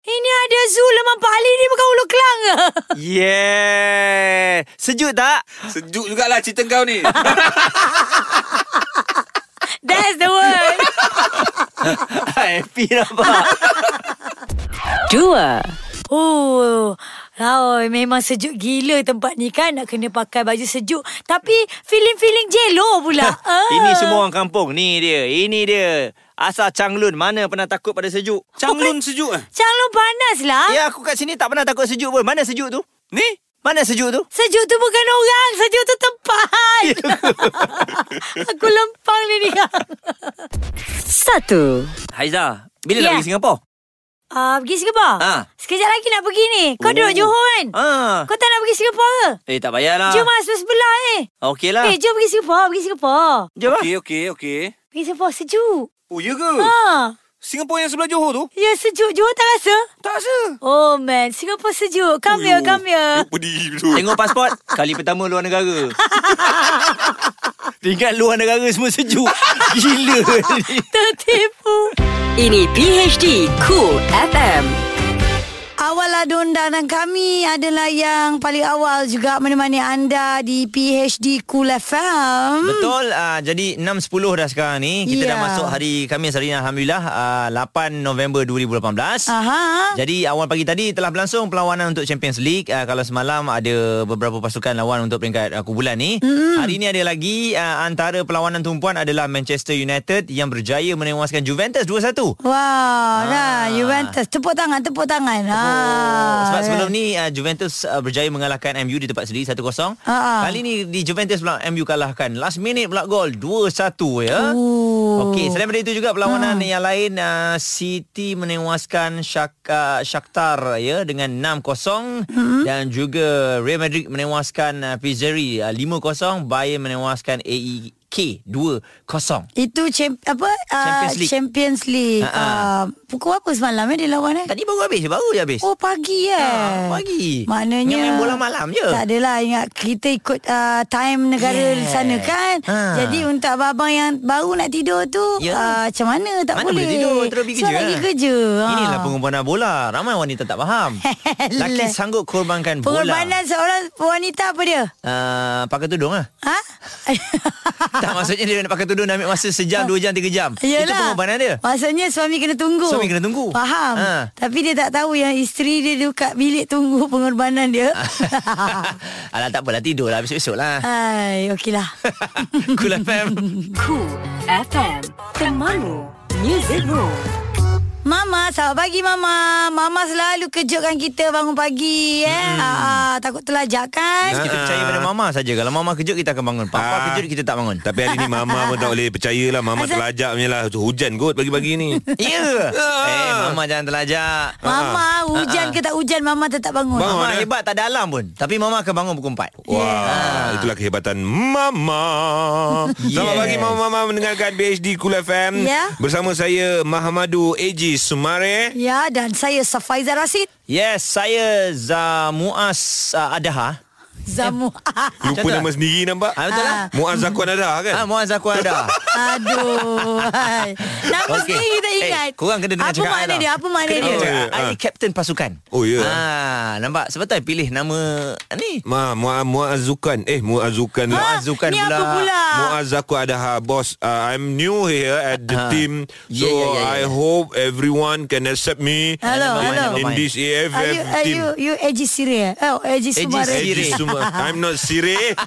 Speaker 2: ini ada zoo lemah Bali ni bukan Ulu Kelang ke?
Speaker 1: Yeah Sejuk tak?
Speaker 10: Sejuk jugalah cerita kau ni.
Speaker 2: That's the word.
Speaker 1: Happy nampak
Speaker 3: Dua.
Speaker 2: Oh, oh, memang sejuk gila tempat ni kan Nak kena pakai baju sejuk Tapi feeling-feeling jelo pula Ah.
Speaker 1: Ini semua orang kampung Ni dia Ini dia Asal Changlun Mana pernah takut pada sejuk
Speaker 10: Canglun sejuk eh.
Speaker 2: Calon panas lah
Speaker 1: Ya aku kat sini tak pernah takut sejuk pun Mana sejuk tu?
Speaker 10: Ni?
Speaker 1: Mana sejuk tu? Ya.
Speaker 2: Sejuk tu bukan orang Sejuk tu tempat Aku lempang ni ni
Speaker 3: Satu.
Speaker 1: Haiza Bila nak
Speaker 2: Ya.
Speaker 1: pergi Singapura?
Speaker 2: Ah, Pergi Singapura
Speaker 1: Ha.
Speaker 2: Sekejap lagi nak pergi ni Kau duduk
Speaker 10: Oh.
Speaker 2: Johor kan
Speaker 1: Ah.
Speaker 2: Kau tak nak pergi Singapura ke
Speaker 1: Eh tak payahlah
Speaker 2: Jom lah sebelah eh
Speaker 1: Okey lah
Speaker 2: Eh jom pergi Singapura Pergi Singapura
Speaker 1: Jom lah
Speaker 10: Okey, okey, okey.
Speaker 2: Pergi Singapura sejuk
Speaker 10: Oh, ya ke?
Speaker 2: Ha.
Speaker 10: Singapura yang sebelah Johor tu?
Speaker 2: Ya sejuk Johor tak rasa
Speaker 10: Tak rasa. Oh, ya.
Speaker 2: Oh man Singapura sejuk Come here come here
Speaker 10: Dia pedih tu.
Speaker 1: Tengok pasport Kali pertama luar negara Tingkat luar negara semua sejuk Gila ni
Speaker 2: Tertipu
Speaker 3: Ini PHD Cool FM.
Speaker 2: Awal adun dan kami adalah yang paling awal juga menemani anda di PHD Cool FM.
Speaker 1: Betul uh, Jadi 6.10 dah sekarang ni Kita dah
Speaker 2: Hmm. Ya.
Speaker 1: masuk hari Khamis hari ini Alhamdulillah uh, 8 November 2018
Speaker 2: Aha.
Speaker 1: Jadi awal pagi tadi telah berlangsung perlawanan untuk Champions League. Uh, kalau semalam ada beberapa pasukan lawan untuk peringkat uh, kumpulan ni.
Speaker 2: Hmm.
Speaker 1: Mm. Hari ini ada lagi uh, antara perlawanan tumpuan adalah Manchester United yang berjaya menewaskan Juventus 2-1.
Speaker 2: Wow,
Speaker 1: Ah.
Speaker 2: dah Juventus. Tepuk tangan, tepuk tangan. Ha.
Speaker 1: Oh, sebab
Speaker 2: kan?
Speaker 1: sebelum ni uh, Juventus uh, berjaya mengalahkan MU di tempat sendiri 1-0.
Speaker 2: Ah.
Speaker 1: Kali ni di Juventus pula MU kalahkan. Last minute pula gol 2-1 ya.
Speaker 2: Oh.
Speaker 1: Okey, selain daripada itu juga
Speaker 2: Ah.
Speaker 1: perlawanan yang lain uh, City menewaskan Shak, uh, Shakhtar ya dengan 6-0
Speaker 2: Hmm.
Speaker 1: dan juga Real Madrid menewaskan uh, Pizzeri uh, 5-0, Bayern menewaskan E AEK 2-0.
Speaker 2: Itu champ, apa? Ah,
Speaker 1: Champions League.
Speaker 2: Champions League.
Speaker 1: Ha, ha.
Speaker 2: Ah, pukul apa semalam eh dia lawan eh?
Speaker 1: Tadi baru habis, baru dia habis.
Speaker 2: Oh pagi eh
Speaker 1: Ah, pagi.
Speaker 2: Maknanya
Speaker 1: Ingat main bola malam je.
Speaker 2: Tak adalah Ingat kita ikut uh, Time negara
Speaker 1: Yes.
Speaker 2: yeah. sana kan
Speaker 1: Ah.
Speaker 2: Jadi untuk abang-abang yang Baru nak tidur tu
Speaker 1: Ya.
Speaker 2: uh, Macam mana tak
Speaker 1: Mana
Speaker 2: boleh
Speaker 1: boleh tidur Terus pergi
Speaker 2: Sebab
Speaker 1: kerja eh?
Speaker 2: lagi kerja Ah.
Speaker 1: Inilah pengorbanan bola Ramai wanita tak faham Laki
Speaker 2: Lah.
Speaker 1: sanggup korbankan bola
Speaker 2: Pengorbanan seorang wanita apa dia?
Speaker 1: uh, Pakai tudung lah
Speaker 2: Ha?
Speaker 1: Tak maksudnya dia nak pakai tudung Dah ambil masa sejam, dua jam, tiga jam Itu
Speaker 2: Ah. Yelah.
Speaker 1: pengorbanan dia
Speaker 2: Maksudnya suami kena tunggu
Speaker 1: Suami kena tunggu.
Speaker 2: Faham
Speaker 1: Ha.
Speaker 2: Tapi dia tak tahu yang isteri dia duduk kat bilik tunggu pengorbanan dia
Speaker 1: Alah tak apalah tidur lah Besok-besok lah
Speaker 2: Ah. Hai, okeylah
Speaker 1: Cool FM
Speaker 3: Cool FM. Temanmu. Music Room.
Speaker 2: Mama, selamat pagi Mama. Mama selalu kejutkan kita bangun pagi eh. Hmm. Aa, takut terlajak kan?
Speaker 1: Kita percaya pada mama saja Kalau mama kejut kita akan bangun Papa
Speaker 4: Ah.
Speaker 1: kejut kita tak bangun
Speaker 4: Tapi hari ni Mama pun tak boleh percaya lah Mama
Speaker 2: Azan.
Speaker 4: terlajak punya lah Hujan kot pagi-pagi ni
Speaker 1: Ya
Speaker 4: Ah.
Speaker 1: Eh mama jangan terlajak
Speaker 2: Mama, hujan ke tak hujan Mama tetap bangun.
Speaker 4: Bangun.
Speaker 1: Mama
Speaker 4: eh?
Speaker 1: hebat tak ada alam pun Tapi mama akan bangun pukul 4
Speaker 4: Wah,
Speaker 2: Ya.
Speaker 4: ah. itulah kehebatan Mama. Selamat
Speaker 1: Yes.
Speaker 4: pagi Mama-Mama mendengarkan BHD Cool FM.
Speaker 2: Ya.
Speaker 4: Bersama saya Mahamadu Eji Sumare.
Speaker 2: Ya, dan saya Safaiza Rasid.
Speaker 1: Yes Saya Zamuas uh, Adaha
Speaker 2: Zamu.
Speaker 4: Lupa
Speaker 1: Macam tu
Speaker 4: nama
Speaker 1: lah.
Speaker 4: sendiri nampak?
Speaker 1: Ah, betul lah.
Speaker 4: Muaz Zakwan ada kan?
Speaker 1: Ah, Muaz aku ada.
Speaker 2: Aduh. hai. Nama
Speaker 1: Okey.
Speaker 2: okay. sendiri kita ingat.
Speaker 1: Eh, korang kena dengar
Speaker 2: Apa
Speaker 1: cakap I
Speaker 2: makna
Speaker 1: tau.
Speaker 2: dia? Apa makna
Speaker 1: Kena
Speaker 2: dia?
Speaker 1: dengar cakap I.
Speaker 4: Ah.
Speaker 1: I captain pasukan.
Speaker 4: Oh, ya.
Speaker 1: Ah, nampak sebab tu I pilih nama ah, ni.
Speaker 4: Ma, Mua, Muazukan. Eh, Muazukan.
Speaker 2: Ha?
Speaker 1: Muazzukan
Speaker 2: Ni apa
Speaker 1: pula.
Speaker 2: pula?
Speaker 4: Muazzaku Adaha Boss uh, I'm new here at the
Speaker 1: Ah.
Speaker 4: team So
Speaker 1: Yeah, yeah, yeah, yeah.
Speaker 4: I hope everyone can accept me
Speaker 2: Hello,
Speaker 4: in,
Speaker 2: hello.
Speaker 4: in this AFF
Speaker 2: Are you, are
Speaker 4: team
Speaker 2: you, you Eji Siri eh? Oh, Eji
Speaker 1: Eji
Speaker 2: Sumare.
Speaker 1: Siri.
Speaker 4: Eji Suma- I'm not Sire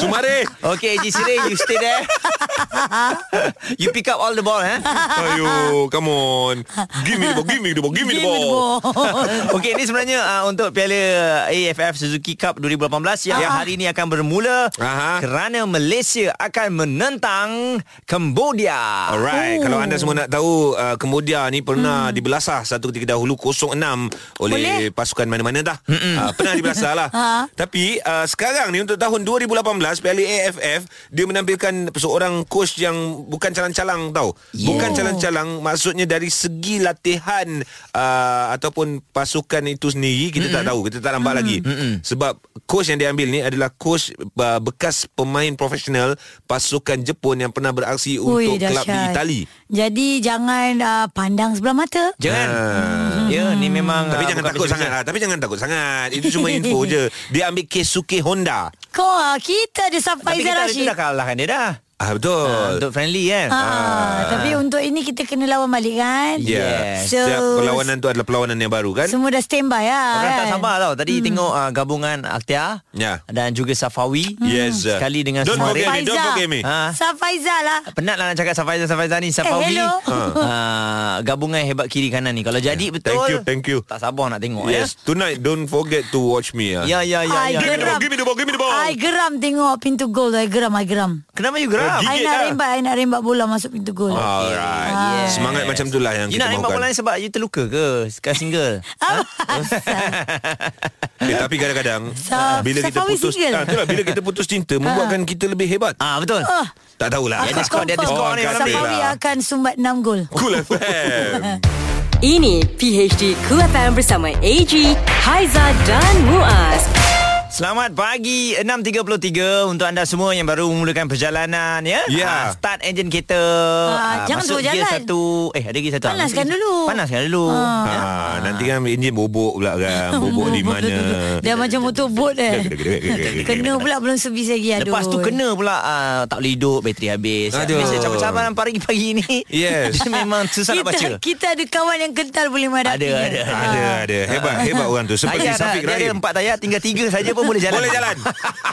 Speaker 4: Sumare
Speaker 1: Okay, AJ Sire, you stay there. you pick up all the ball, eh?
Speaker 4: Ayo Ah, Come on Give me the ball Give me the ball Give me the
Speaker 2: Give me the
Speaker 4: ball
Speaker 1: Okey, ini sebenarnya uh, untuk Piala AFF Suzuki Cup 2018 yang
Speaker 2: Ah.
Speaker 1: hari ini akan bermula
Speaker 4: Aha.
Speaker 1: kerana Malaysia akan menentang Cambodia.
Speaker 4: Alright, oh. kalau anda semua nak tahu uh, Kemudia ni pernah hmm. dibelasah satu ketika dahulu 06 oleh Boleh? pasukan mana-mana dah. Uh, pernah dibelasah lah. ha. Tapi uh, sekarang ni untuk tahun 2018 Piala AFF dia menampilkan seorang coach yang bukan calang-calang tau. Yeah. Bukan calang-calang maksudnya dari segi latihan uh, ataupun pasukan itu sendiri kita mm tak tahu, kita tak nampak lagi. mm Sebab coach yang diambil ni adalah coach uh, bekas pemain profesional pasukan Jepun yang pernah beraksi untuk
Speaker 2: Ui,
Speaker 4: kelab di
Speaker 2: dahsyat.
Speaker 4: Itali.
Speaker 2: Jadi jangan uh, pandang sebelah mata.
Speaker 1: Jangan. Ya, ni memang
Speaker 4: Tapi
Speaker 1: ah, bukan
Speaker 4: jangan takut
Speaker 1: macam-macam.
Speaker 4: sangat lah. Tapi jangan takut sangat. Itu cuma info je. Dia ambil Keisuke Honda.
Speaker 2: Kau ah, kita ada
Speaker 1: Tapi
Speaker 2: Safaiza
Speaker 1: kita hari tu
Speaker 2: Rashid.
Speaker 1: dah kalahkan dia dah
Speaker 4: Ah betul.
Speaker 1: Ah,
Speaker 4: betul.
Speaker 1: Untuk friendly kan
Speaker 2: Ah, tapi untuk ini kita kena lawan balik kan?
Speaker 4: Yeah.
Speaker 1: Yes.
Speaker 4: So, Ya. Setiap
Speaker 2: So-
Speaker 4: perlawanan tu adalah perlawanan yang baru kan?
Speaker 2: Semua dah standby lah
Speaker 1: Orang
Speaker 2: kan?
Speaker 1: tak sabar tau Tadi hmm. tengok uh, gabungan Akhtiar
Speaker 4: Ya.
Speaker 1: Dan juga Safawi
Speaker 4: Yes.
Speaker 1: Sekali dengan
Speaker 4: Don't
Speaker 1: semua orang.
Speaker 4: forget me, don't
Speaker 2: Faizal.
Speaker 4: forget me.
Speaker 1: Ha?
Speaker 2: Safaiza lah.
Speaker 1: Penat lah nak cakap Safaizah Safaizah ni Safawi
Speaker 2: Eh, hello.
Speaker 4: Ah.
Speaker 1: uh, Gabungan hebat kiri kanan ni Kalau jadi betul
Speaker 4: you, thank you.
Speaker 1: Tak sabar nak tengok
Speaker 4: Yes, tonight don't forget to watch me.
Speaker 1: Oh,
Speaker 4: ah.
Speaker 1: ya Ya
Speaker 2: I
Speaker 1: ya ya,
Speaker 4: Give me the
Speaker 1: ya.
Speaker 4: ball, give me the ball, give me the ball.
Speaker 2: I geram tengok pintu gol tu. I geram, I geram.
Speaker 1: Kenapa you geram?
Speaker 2: I nak
Speaker 4: Gigit lah. Ah,
Speaker 2: rembat, I nak rembat bola masuk pintu gol.
Speaker 4: Alright.
Speaker 1: Yes.
Speaker 4: Semangat macam itulah
Speaker 1: ya.
Speaker 4: yang
Speaker 1: You
Speaker 4: kita
Speaker 1: nak tembak bola
Speaker 4: mahukan.
Speaker 1: ni sebab you terluka ke? Sekarang single
Speaker 4: Eh, tapi kadang-kadang
Speaker 2: Sa-
Speaker 4: bila kita
Speaker 2: Safawi
Speaker 4: putus
Speaker 2: single.
Speaker 4: ah, itulah, bila kita putus cinta membuatkan kita lebih hebat.
Speaker 1: Ah betul
Speaker 2: Oh,
Speaker 4: Tak tahulah.
Speaker 1: Dia ada skor, dia ya. ada skor
Speaker 4: Oh,
Speaker 1: ni malam ni.
Speaker 2: Safawi akan sumbat 6 gol.
Speaker 4: Cool FM.
Speaker 3: Ini PHD Cool FM bersama AG, Haiza dan Muaz.
Speaker 1: Selamat pagi 6.33 Untuk anda semua yang baru memulakan perjalanan ya.
Speaker 4: Ya.
Speaker 1: Ah, Start enjin kereta
Speaker 2: Ah,
Speaker 1: Ah,
Speaker 2: jangan suruh
Speaker 1: Masuk gear
Speaker 2: jalan.
Speaker 1: satu Eh ada lagi satu ah.
Speaker 2: Panaskan
Speaker 1: Masuk-
Speaker 2: dulu.
Speaker 1: Panaskan dulu
Speaker 2: Ah.
Speaker 1: Ya.
Speaker 4: Ha, nanti kan enjin bobok pula kan. Bobok di mana.
Speaker 2: Dah macam motorbot eh. Kena pula belum sebis lagi. Aduh.
Speaker 1: Lepas tu kena pula ah, Tak boleh hidup Bateri habis
Speaker 4: Aduh.
Speaker 1: Biasa cabar-cabar Pagi-pagi ni
Speaker 4: Yes.
Speaker 1: Dia memang susah
Speaker 2: kita,
Speaker 1: nak baca
Speaker 2: kita ada kawan yang kental boleh
Speaker 1: Ada
Speaker 2: menghadapi.
Speaker 1: ada
Speaker 4: Ada ada hebat hebat orang tu seperti
Speaker 1: Tayar dah
Speaker 4: Safiq
Speaker 1: Dia ada
Speaker 4: Rahim.
Speaker 1: empat tayar Tinggal tiga saja pun boleh jalan
Speaker 4: Boleh jalan.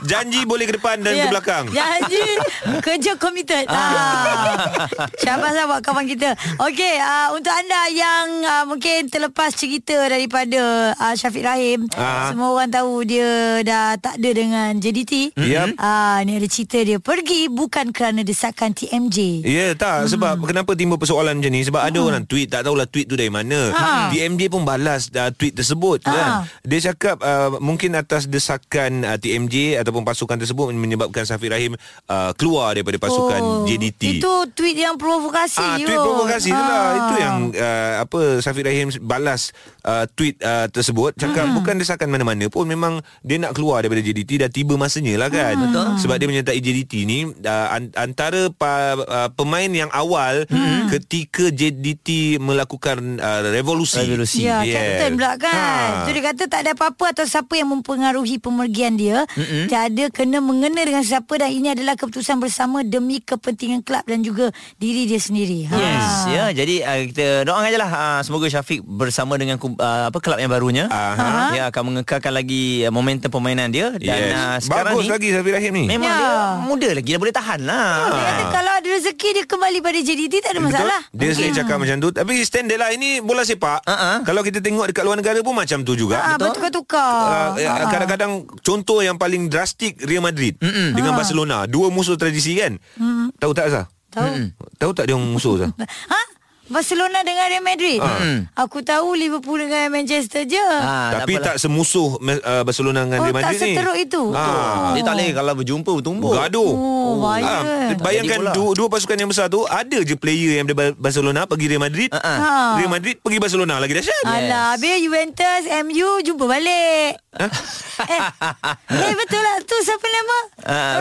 Speaker 4: Janji boleh ke depan dan ke belakang.
Speaker 2: Janji Ya. Kerja committed ah. Syabas lah buat kawan kita Okey uh, Untuk anda yang uh, Mungkin terlepas cerita Daripada uh, Syafiq Rahim
Speaker 4: Ah.
Speaker 2: Semua orang tahu Dia dah tak ada dengan JDT
Speaker 4: Yap.
Speaker 2: Ah, Ni ada cerita dia Pergi bukan kerana desakan TMJ
Speaker 4: Ya yeah,
Speaker 2: Hmm.
Speaker 4: tak sebab kenapa timbul persoalan macam ni sebab ada orang tweet tak tahulah tweet tu dari mana.
Speaker 2: Ha.
Speaker 4: TMJ pun balas uh, tweet tersebut
Speaker 2: Ha.
Speaker 4: kan. Dia cakap uh, mungkin atas desakan uh, TMJ ataupun pasukan tersebut menyebabkan Safiq Rahim uh, keluar daripada pasukan JDT.
Speaker 2: Oh, Itu tweet yang provokasi
Speaker 4: Ah, tweet
Speaker 2: Yul.
Speaker 4: provokasi tu lah.
Speaker 2: Ah.
Speaker 4: Itu yang uh, apa Safiq Rahim balas uh, tweet uh, tersebut cakap bukan desakan mana-mana pun memang dia nak keluar daripada JDT dah tiba masanya lah kan. Betul. Sebab dia menyertai JDT ni uh, an- antara pa- uh, pemain yang awal ketika JDT melakukan uh, revolusi.
Speaker 1: Revolusi.
Speaker 2: Ya,
Speaker 4: Yes.
Speaker 2: yeah. captain pula kan. Ha.
Speaker 4: Ha.
Speaker 2: So dia kata tak ada apa-apa atau siapa yang mempengaruhi pemergian dia. Mm-mm. Tak ada kena mengena dengan siapa dan ini adalah keputusan bersama demi kepentingan klub dan juga diri dia sendiri. Ha.
Speaker 1: Yes, ya. Jadi uh, kita doakan ajalah uh, semoga Syafiq bersama dengan kum- uh, apa klub yang barunya
Speaker 4: Aha.
Speaker 1: dia akan mengekalkan lagi uh, momentum permainan dia dan
Speaker 4: Yes.
Speaker 1: uh, sekarang
Speaker 4: Bagus
Speaker 1: ni
Speaker 4: lagi Safiq Rahim ni.
Speaker 1: memang
Speaker 2: Ya.
Speaker 1: dia muda lagi dah boleh tahan lah.
Speaker 2: Dia kata kalau ada rezeki dia kembali pada JDT tak ada masalah.
Speaker 4: Eh, Betul? Dia sendiri cakap macam tu Tapi standard lah Ini bola sepak
Speaker 1: Ha-ha.
Speaker 4: Kalau kita tengok Dekat luar negara pun Macam tu juga
Speaker 2: Ha, bertukar-tukar.
Speaker 4: Uh,
Speaker 2: Ah,
Speaker 4: kadang-kadang contoh yang paling drastik Real Madrid Mm-mm. dengan Barcelona dua musuh tradisi kan mm. tahu tak Azah
Speaker 2: ah. Hmm, Tahu.
Speaker 4: tahu tak dia orang musuh Azah
Speaker 2: Ha? Barcelona dengan Real Madrid.
Speaker 4: Ah.
Speaker 2: Aku tahu Liverpool dengan Manchester je.
Speaker 1: Ah,
Speaker 2: Ha,
Speaker 4: tapi
Speaker 1: apalah.
Speaker 4: tak semusuh me- uh, Barcelona
Speaker 2: lah.
Speaker 4: dengan
Speaker 2: Oh,
Speaker 4: Real
Speaker 2: tak
Speaker 4: Madrid ni
Speaker 2: seteruk itu?
Speaker 4: ha.
Speaker 1: dia tak boleh kalau berjumpa bertumbuk.
Speaker 4: Gaduh
Speaker 2: Oh, bahaya.
Speaker 4: Ah,
Speaker 1: Tak jadi bola.
Speaker 4: bayangkan dua, dua pasukan yang besar tu Ada je player yang dari Barcelona Pergi Real Madrid
Speaker 1: Ha.
Speaker 4: Real Madrid pergi Barcelona Lagi dahsyat
Speaker 2: Alah, habis Juventus, MU jumpa balik.
Speaker 4: Ha?
Speaker 2: eh, eh betul lah tu siapa nama?
Speaker 1: Ah,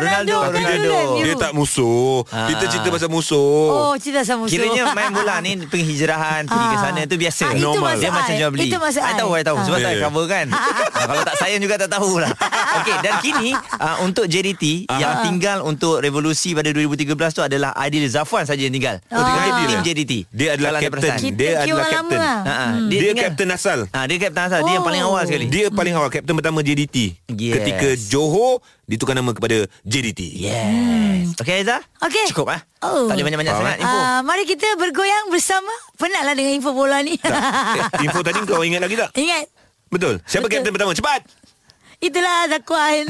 Speaker 2: kan
Speaker 1: Ronaldo, Ronaldo.
Speaker 2: dulu MU.
Speaker 4: Dia tak musuh
Speaker 1: Ah.
Speaker 4: Kita cerita pasal musuh
Speaker 2: Oh, cerita sama musuh.
Speaker 1: Kiranya main bola ni penghijrahan pergi ke
Speaker 2: Ah.
Speaker 1: sana tu
Speaker 2: Ah,
Speaker 1: biasa.
Speaker 2: itu
Speaker 4: Normal.
Speaker 1: Dia
Speaker 2: masuk
Speaker 1: macam
Speaker 2: I.
Speaker 1: jual beli.
Speaker 2: Itu masuk
Speaker 1: I
Speaker 2: I.
Speaker 1: tahu, I tahu. Sebab
Speaker 4: Ah.
Speaker 1: tak
Speaker 4: Ya.
Speaker 1: cover kan. Ah, kalau tak sayang juga tak tahulah. Okey, dan kini ah, untuk JDT yang tinggal untuk revolusi pada 2013 tu adalah Aidil Zafwan saja yang tinggal.
Speaker 4: Oh, tinggal
Speaker 1: Untuk
Speaker 4: Aidil
Speaker 1: Tim
Speaker 4: eh?
Speaker 1: JDT.
Speaker 4: Dia adalah
Speaker 1: Kalau anda
Speaker 4: captain
Speaker 1: perasan.
Speaker 4: Dia
Speaker 2: Kita queue
Speaker 4: adalah
Speaker 2: orang lama
Speaker 4: captain
Speaker 2: lah.
Speaker 1: Ah, ah,
Speaker 4: Dia,
Speaker 1: tinggal-
Speaker 4: captain asal
Speaker 1: Ah, dia captain asal. Dia yang paling
Speaker 2: Oh.
Speaker 1: awal sekali.
Speaker 4: Dia paling awal Kapten pertama JDT
Speaker 1: Yes.
Speaker 4: Ketika Johor Ditukar nama kepada JDT
Speaker 1: Yes.
Speaker 4: Hmm.
Speaker 1: Okey Aizah?
Speaker 2: Okey.
Speaker 1: Cukup ah.
Speaker 2: Oh.
Speaker 1: Tak boleh banyak-banyak
Speaker 4: Faham,
Speaker 1: sangat info.
Speaker 2: Ah, mari kita bergoyang bersama. Penatlah dengan info bola ni.
Speaker 4: Eh, Info tadi kau ingat lagi tak?
Speaker 2: Ingat,
Speaker 4: Betul
Speaker 2: Betul.
Speaker 4: Siapa Betul. captain pertama? Cepat
Speaker 2: itulah Zakwan.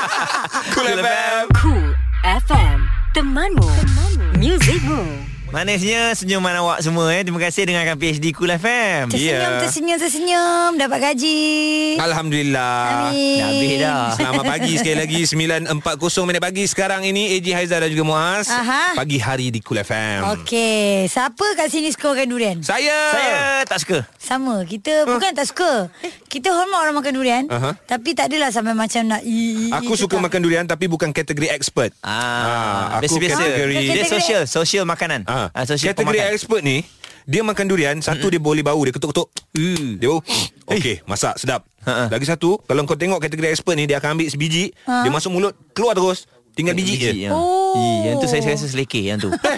Speaker 4: Cool
Speaker 1: lah.
Speaker 4: FM
Speaker 3: Cool FM, temanmu, temanmu. muzikmu.
Speaker 1: Manisnya senyuman awak semua eh. Terima kasih dengarkan PhD Cool FM.
Speaker 2: Tersenyum,
Speaker 4: Yeah.
Speaker 2: tersenyum, tersenyum. Dapat gaji.
Speaker 4: Alhamdulillah
Speaker 2: Amin.
Speaker 1: Dah habis dah.
Speaker 4: Selamat pagi sekali lagi 9.40 minit pagi Sekarang ini AJ Haizah dan juga Muaz
Speaker 2: Aha.
Speaker 4: Pagi hari di Cool FM
Speaker 2: Okey, siapa kat sini skorkan durian?
Speaker 4: Saya
Speaker 1: Saya Eh, tak suka.
Speaker 2: Sama Kita huh? bukan tak suka
Speaker 1: Eh.
Speaker 2: Kita hormat orang makan durian
Speaker 4: Aha.
Speaker 2: Tapi tak adalah sampai macam nak i- i- i-
Speaker 4: Aku
Speaker 2: tu tak.
Speaker 4: suka makan durian Tapi bukan kategori expert
Speaker 1: Ah,
Speaker 4: Aku
Speaker 1: biasa-biasa.
Speaker 4: kategori
Speaker 1: Dia
Speaker 2: Kategori-
Speaker 1: social, social makanan.
Speaker 4: Ah,
Speaker 1: Ah, social
Speaker 4: kategori
Speaker 1: pemakan.
Speaker 4: expert ni dia makan durian satu dia boleh bau dia ketuk-ketuk. Uh, Dia bau.
Speaker 1: Eh.
Speaker 4: Okey, masak
Speaker 2: Ha?
Speaker 4: sedap. Lagi satu, kalau kau tengok kategori expert ni dia akan ambil sebiji, dia masuk mulut, keluar terus. Tinggal biji je.
Speaker 1: ya.
Speaker 2: Oh.
Speaker 1: Ih, Yang tu saya, saya rasa selekeh yang tu.
Speaker 2: Dah,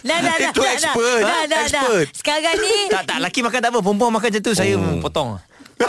Speaker 2: dah, dah,
Speaker 4: Itu
Speaker 2: dah,
Speaker 4: expert.
Speaker 2: Dah, dah, dah.
Speaker 4: Expert.
Speaker 2: Sekarang ni
Speaker 1: tak tak laki makan tak apa, perempuan makan macam tu saya
Speaker 4: Oh.
Speaker 1: potong.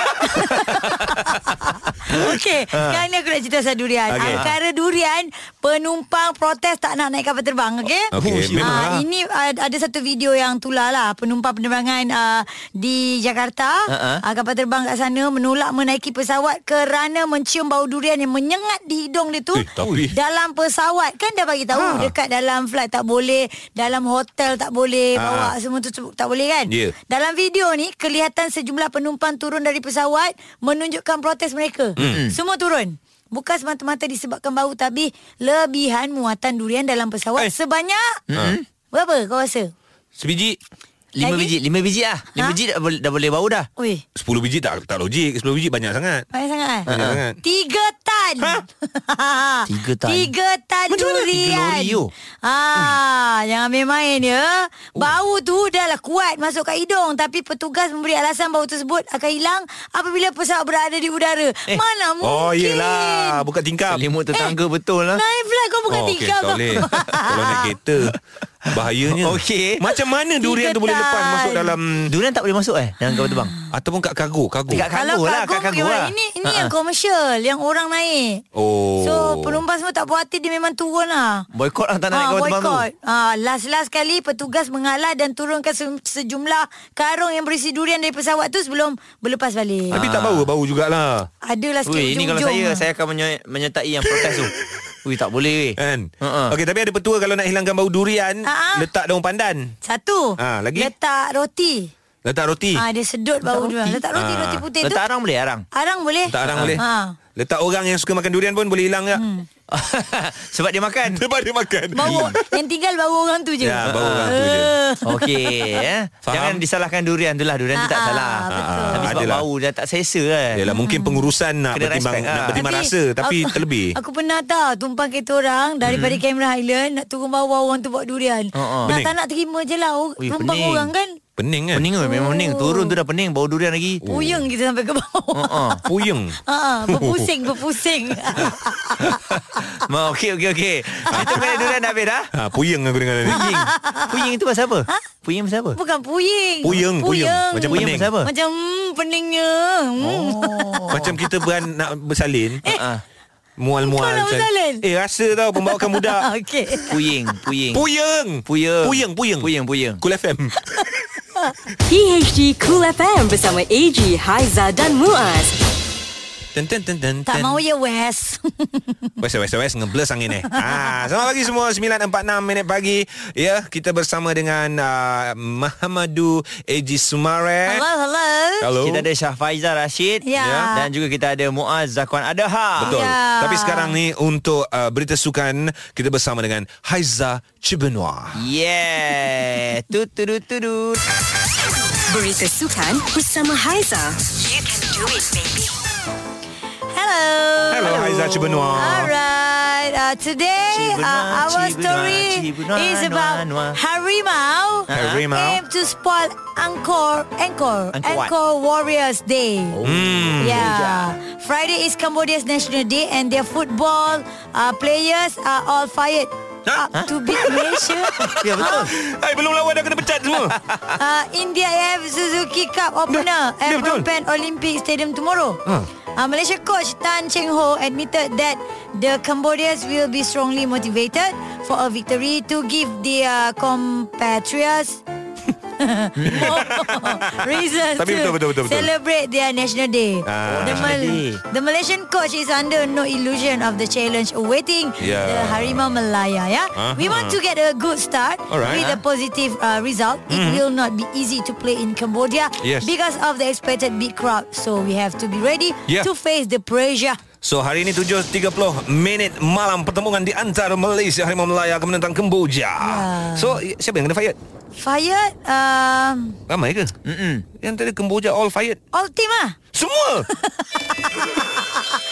Speaker 2: Okey,
Speaker 4: Ha.
Speaker 2: sekarang ni aku nak cerita pasal durian.
Speaker 1: Okey.
Speaker 2: Okay. Antara durian, penumpang protes tak nak naik kapal terbang, okey?
Speaker 4: Okey,
Speaker 2: Ah,
Speaker 4: memang lah.
Speaker 2: ini uh, ada satu video yang tular lah penumpang penerbangan uh, di Jakarta,
Speaker 1: Ha-ha.
Speaker 2: uh-huh. uh, kapal terbang kat sana menolak menaiki pesawat kerana mencium bau durian yang menyengat di hidung dia tu.
Speaker 4: Eh, tapi-
Speaker 2: Dalam pesawat kan dah bagi tahu
Speaker 4: Ha.
Speaker 2: dekat dalam flight tak boleh, dalam hotel tak boleh
Speaker 4: Ha.
Speaker 2: bawa semua tu tu- tak boleh kan?
Speaker 4: Ya.
Speaker 2: Dalam video ni kelihatan sejumlah penumpang turun dari pesawat menunjukkan protes mereka.
Speaker 1: Hmm.
Speaker 2: Mm-hmm. Semua turun. Bukan semata-mata disebabkan bau tapi lebihan muatan durian dalam pesawat eh. sebanyak
Speaker 4: Hmm?
Speaker 1: Ha.
Speaker 2: mm-hmm. berapa kau rasa?
Speaker 4: Sebiji
Speaker 1: Lima
Speaker 2: Lagi?
Speaker 1: biji, lima biji lah. Lima
Speaker 2: Ha?
Speaker 1: biji dah, boleh- dah boleh bau dah.
Speaker 2: Weh,
Speaker 4: 10 biji tak tak logik 10 biji banyak sangat
Speaker 2: banyak sangat kan?
Speaker 4: Banyak sangat.
Speaker 2: Tiga tan.
Speaker 1: Tiga tan.
Speaker 2: Tiga tan
Speaker 1: Macam mana?
Speaker 2: durian.
Speaker 1: Tiga lori, yo. Hmm. Oh.
Speaker 2: Ah, jangan main-main ya. Bau tu dah lah kuat masuk kat hidung tapi petugas memberi alasan bau tersebut akan hilang apabila pesawat berada di udara. Eh. Mana mungkin?
Speaker 4: Oh yelah Bukan tingkap
Speaker 1: Selimut
Speaker 2: Eh,
Speaker 1: tetangga betul lah.
Speaker 2: Naik flight kau bukan
Speaker 4: Oh,
Speaker 2: oh,
Speaker 4: okey,
Speaker 2: tingkap
Speaker 4: tak boleh. Kalau naik kereta Bahayanya
Speaker 1: Okey.
Speaker 4: Macam mana durian tu boleh lepas
Speaker 2: tan.
Speaker 4: Masuk dalam
Speaker 1: Durian tak boleh masuk eh dalam kapal terbang.
Speaker 4: Ataupun kat kargo Kargo
Speaker 1: Dekat
Speaker 2: Kalau
Speaker 1: kargo lah, kat
Speaker 2: kagum
Speaker 1: kargo lah.
Speaker 2: Ini,
Speaker 4: Ha,
Speaker 2: ini
Speaker 1: Ha-ha.
Speaker 2: yang komersial Yang orang naik
Speaker 4: Oh
Speaker 2: So penumpang semua tak puas hati Dia memang turun lah
Speaker 1: Boykot lah tak nak naik kapal terbang tu.
Speaker 2: boikot. Ah, last-last kali petugas mengalah dan turunkan se- sejumlah karung yang berisi durian dari pesawat tu sebelum berlepas balik. Ah,
Speaker 4: Tapi tak bau Bau jugalah
Speaker 2: Adalah sikit
Speaker 1: Weh, Eh, ini kalau
Speaker 2: ujung-ujung.
Speaker 1: saya saya akan menye- menyertai yang protes tu. Weh, tak boleh weh.
Speaker 4: Kan
Speaker 1: Ha-ha.
Speaker 4: Okey tapi ada petua Kalau nak hilangkan bau durian
Speaker 2: Ha-ha.
Speaker 4: Letak daun pandan
Speaker 2: Satu.
Speaker 4: Ah, lagi?
Speaker 2: Letak roti.
Speaker 4: Letak roti
Speaker 2: Ah, dia sedut bau durian. Letak roti,
Speaker 4: Ah.
Speaker 2: roti putih
Speaker 1: Letak
Speaker 2: tu.
Speaker 1: arang boleh arang.
Speaker 2: Arang boleh?
Speaker 4: Letak arang boleh
Speaker 2: Ha. Hmm.
Speaker 4: Letak orang yang suka makan durian pun Boleh hilang tak
Speaker 1: Sebab dia makan.
Speaker 4: Lepas dia makan
Speaker 2: Bau, yang tinggal bau orang tu je. Ah.
Speaker 4: Ya bau orang tu je
Speaker 1: Ah. Okey eh.
Speaker 4: Faham?
Speaker 1: Jangan disalahkan durian tu lah Durian tu tak
Speaker 2: Ah,
Speaker 1: salah
Speaker 2: betul. Hmm.
Speaker 1: Tapi sebab
Speaker 4: Adalah.
Speaker 1: bau Dah tak selesa kan
Speaker 4: lah. Yalah mungkin pengurusan nak
Speaker 1: Kena
Speaker 4: bertimbang
Speaker 1: respect,
Speaker 4: nak
Speaker 1: ah.
Speaker 4: bertimbang rasa tapi
Speaker 2: aku,
Speaker 4: terlebih. Mhm.
Speaker 2: Aku pernah tau tumpang kereta orang daripada hmm. Cameron Highland nak turun bawah orang tu bawa durian.
Speaker 1: ah.
Speaker 2: Nak
Speaker 4: Pening.
Speaker 2: tak nak terima je lah or-
Speaker 1: Ui,
Speaker 2: penumpang
Speaker 1: pening.
Speaker 2: orang kan.
Speaker 4: Pening kan? Oh.
Speaker 1: Pening kan memang pening Turun tu dah pening Bau durian lagi
Speaker 2: Oh. Puyeng kita sampai ke bawah.
Speaker 1: uh-uh.
Speaker 4: Puyeng.
Speaker 2: Ha, berpusing, berpusing.
Speaker 1: Ma, Okey okey okey Kita main durian dah habis dah
Speaker 4: Ha, puyeng aku dengar ni.
Speaker 1: Puying Puying itu pasal apa? Puying pasal apa?
Speaker 2: Bukan puying.
Speaker 4: Puyeng, puyeng. Macam
Speaker 2: Macam
Speaker 1: Puyeng
Speaker 4: pening.
Speaker 1: pasal apa?
Speaker 2: Macam mm, peningnya. Oh.
Speaker 4: Macam kita beran nak bersalin. Ha.
Speaker 1: Ah,
Speaker 4: Mual-mual.
Speaker 2: kau nak
Speaker 4: macam-
Speaker 2: lah bersalin?
Speaker 4: Eh, rasa tau pembawakan budak.
Speaker 2: Okey.
Speaker 1: Puying Puying
Speaker 4: Puyeng.
Speaker 1: Puyeng
Speaker 4: Puyeng, puyeng.
Speaker 1: Puyeng puyeng
Speaker 4: Cool FM.
Speaker 3: PHD Cool FM bersama AG, Haiza dan Muaz.
Speaker 4: Ten ten ten ten.
Speaker 2: Tak
Speaker 4: ten.
Speaker 2: mau ya Wes.
Speaker 4: Wes wes wes ngebles angin eh. Ah, selamat pagi semua 9.46 minit pagi. Ya, kita bersama dengan uh, Mahamadu Eji Sumare.
Speaker 2: hello, hello.
Speaker 4: Hello.
Speaker 1: Kita ada Syah Faizah Rashid
Speaker 2: Ya.
Speaker 1: Dan juga kita ada Muaz Zakwan Adaha
Speaker 4: Betul.
Speaker 2: Ya.
Speaker 4: Tapi sekarang ni untuk uh, berita sukan kita bersama dengan Haiza Chibenwa.
Speaker 1: Yeah Tu tu tu tu tu
Speaker 3: Berita sukan bersama Haiza. You can do it, baby.
Speaker 2: Hello.
Speaker 4: Hello, Haiza Chibenwa.
Speaker 2: Alright, uh, today
Speaker 1: Cibunua,
Speaker 2: uh, our
Speaker 1: Cibunua,
Speaker 2: story
Speaker 1: Cibunua,
Speaker 2: is
Speaker 1: Nua,
Speaker 2: about
Speaker 1: Nua.
Speaker 2: Harimau
Speaker 4: Harimau.
Speaker 2: aim to spoil Angkor Angkor
Speaker 1: Angkor what?
Speaker 2: Angkor Warriors Day. Yeah. Friday is Cambodia's National Day and their football uh, players are all fired up Ah,
Speaker 4: Ha?
Speaker 2: to beat Malaysia. Ah.
Speaker 1: Ya betul
Speaker 4: Hai, belum lawan dah kena pecat semua.
Speaker 2: uh, India AF Suzuki Cup opener
Speaker 4: dah
Speaker 2: at Phnom
Speaker 4: betul.
Speaker 2: Penh Olympic Stadium tomorrow.
Speaker 4: Ha.
Speaker 2: Uh, Malaysia coach Tan Cheng Ho admitted that the Cambodians will be strongly motivated for a victory to give their compatriots more reasons
Speaker 4: Tapi
Speaker 2: to
Speaker 4: betul, betul, betul, betul.
Speaker 2: celebrate their national day.
Speaker 4: Ah.
Speaker 2: the, Mal-
Speaker 1: National Day.
Speaker 2: the Malaysian coach is under no illusion of the challenge awaiting
Speaker 4: Yeah. Uh-huh.
Speaker 2: the Harimau Malaya. Yeah, we want to get a good start
Speaker 4: Alright. Mm-hmm.
Speaker 2: with a positive uh, result, it will not be easy to play in Cambodia
Speaker 4: Yes.
Speaker 2: because of the expected big crowd. So we have to be ready
Speaker 4: Yeah.
Speaker 2: to face the pressure.
Speaker 4: So hari ini 7.30 minit malam pertemuan di antara Malaysia Harimau Melaya akan menentang Kemboja.
Speaker 2: Ya. Uh,
Speaker 4: So i- siapa yang kena fired?
Speaker 2: Fired um,
Speaker 4: Ramai ke?
Speaker 1: Mm-mm.
Speaker 4: Yang tadi Kemboja all fired.
Speaker 2: all team ah.
Speaker 4: Semua.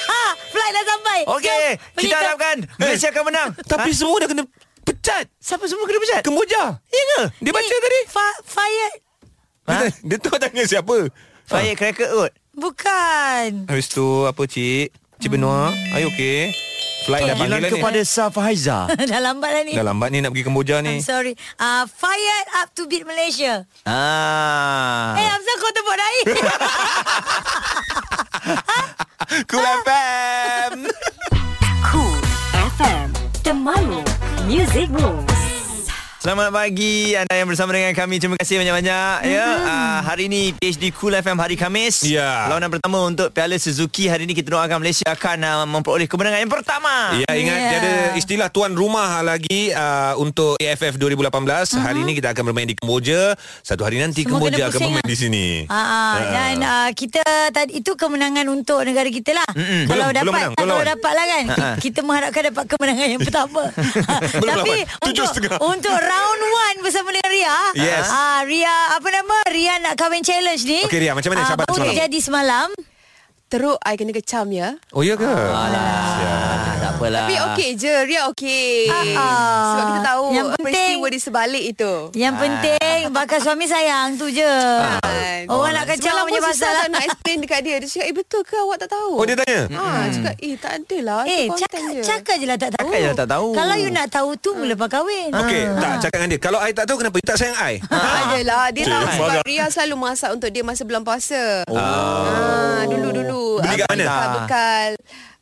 Speaker 2: Ah, flight dah sampai.
Speaker 1: Okey,
Speaker 2: Jom, pergi
Speaker 1: kita
Speaker 2: ke-
Speaker 1: harapkan Malaysia akan menang.
Speaker 4: Eh.
Speaker 1: Ha?
Speaker 4: Tapi semua dah kena pecat.
Speaker 1: siapa semua kena pecat?
Speaker 4: Kemboja. Ya ke? Dia
Speaker 2: Ni,
Speaker 4: baca tadi.
Speaker 2: Fa- fired
Speaker 4: Ha? Dia, dia tahu tanya siapa.
Speaker 1: Fire cracker out.
Speaker 2: bukan.
Speaker 4: Habis tu apa cik? Cik Benua, are you okay? Flight dah
Speaker 1: Gilang
Speaker 4: panggil dah ni.
Speaker 1: Hmm. kepada Saf Haiza.
Speaker 2: Dah lambat dah ni
Speaker 4: Ah. Dah lambat ni nak pergi Kemboja ni.
Speaker 2: I'm sorry uh, Fired up to beat Malaysia
Speaker 1: ah.
Speaker 2: Eh hey, Hamzah kau tepuk dahi
Speaker 4: Cool
Speaker 11: Ah.
Speaker 4: FM.
Speaker 3: Cool FM Temanmu Music Moves
Speaker 1: Selamat pagi anda yang bersama dengan kami. Terima kasih banyak-banyak mm-hmm. ya.
Speaker 2: Hmm.
Speaker 1: Uh, hari ini PhD Cool FM hari Khamis.
Speaker 4: Ya.
Speaker 1: Lawanan pertama untuk Piala Suzuki hari ini kita doakan Malaysia akan uh, memperoleh kemenangan yang pertama.
Speaker 4: Ya ingat
Speaker 2: Yeah.
Speaker 4: yeah. ada istilah tuan rumah lagi uh, untuk AFF 2018. Uh-huh. Hari
Speaker 2: Mm-hmm.
Speaker 4: ini kita akan bermain di Kemboja. Satu hari nanti
Speaker 2: Semua
Speaker 4: Kemboja
Speaker 2: kena
Speaker 4: akan
Speaker 2: pusing,
Speaker 4: bermain
Speaker 2: ah.
Speaker 4: di sini.
Speaker 2: Ah, ah, dan ah, kita tadi itu kemenangan untuk negara kita lah.
Speaker 4: Mm-mm.
Speaker 2: Kalau
Speaker 4: Belum-
Speaker 2: dapat
Speaker 4: belum menang, belum
Speaker 2: kalau
Speaker 4: lawan.
Speaker 2: dapat lah kan.
Speaker 1: Ah, ah.
Speaker 2: Kita mengharapkan dapat kemenangan yang pertama.
Speaker 4: Belum
Speaker 2: Tapi
Speaker 4: lawan. Tujuh
Speaker 2: untuk
Speaker 4: setengah.
Speaker 2: untuk round one bersama dengan Ria.
Speaker 4: Yes.
Speaker 2: Ah, Ria apa nama? Ria nak kahwin challenge ni.
Speaker 4: Okey, Ria, macam mana
Speaker 2: Ah,
Speaker 4: cabaran
Speaker 2: baru
Speaker 4: semalam?
Speaker 2: jadi semalam.
Speaker 11: Teruk I kena kecam ya
Speaker 4: Oh ya ke?
Speaker 1: Ah, tak apalah.
Speaker 11: Tapi okey je Ria okey
Speaker 2: ah.
Speaker 11: Sebab kita tahu
Speaker 2: Yang penting-
Speaker 11: Peristiwa di sebalik itu
Speaker 2: Yang
Speaker 4: Ah.
Speaker 2: penting bakal suami sayang tu je. Orang nak kacau
Speaker 11: Semalam
Speaker 2: punya
Speaker 11: pun
Speaker 2: pasal
Speaker 11: susah
Speaker 2: lah.
Speaker 11: tak nak explain dekat dia Dia cakap eh betul ke awak tak tahu
Speaker 4: Oh dia tanya.
Speaker 7: Hmm.
Speaker 11: Ha, cakap eh tak adalah tu
Speaker 2: Eh,
Speaker 11: konten
Speaker 2: cakap,
Speaker 11: je.
Speaker 2: cakap je lah tak tahu.
Speaker 7: Kan
Speaker 1: Cakap je lah tak tahu.
Speaker 2: Kalau you nak tahu tu
Speaker 7: Hmm.
Speaker 2: mula pak kahwin.
Speaker 4: Okey,
Speaker 7: Ah.
Speaker 4: tak cakap dengan dia. Kalau I tak tahu kenapa you tak sayang I?
Speaker 2: Ah.
Speaker 11: Ah. Adalah Dia
Speaker 4: Cik,
Speaker 11: tahu sebab
Speaker 4: marah.
Speaker 11: Ria selalu masak untuk dia masa bulan puasa oh.
Speaker 7: Ah,
Speaker 11: ha, Dulu-dulu
Speaker 4: Beli kat
Speaker 11: Abang
Speaker 4: mana?
Speaker 11: Bekal, bekal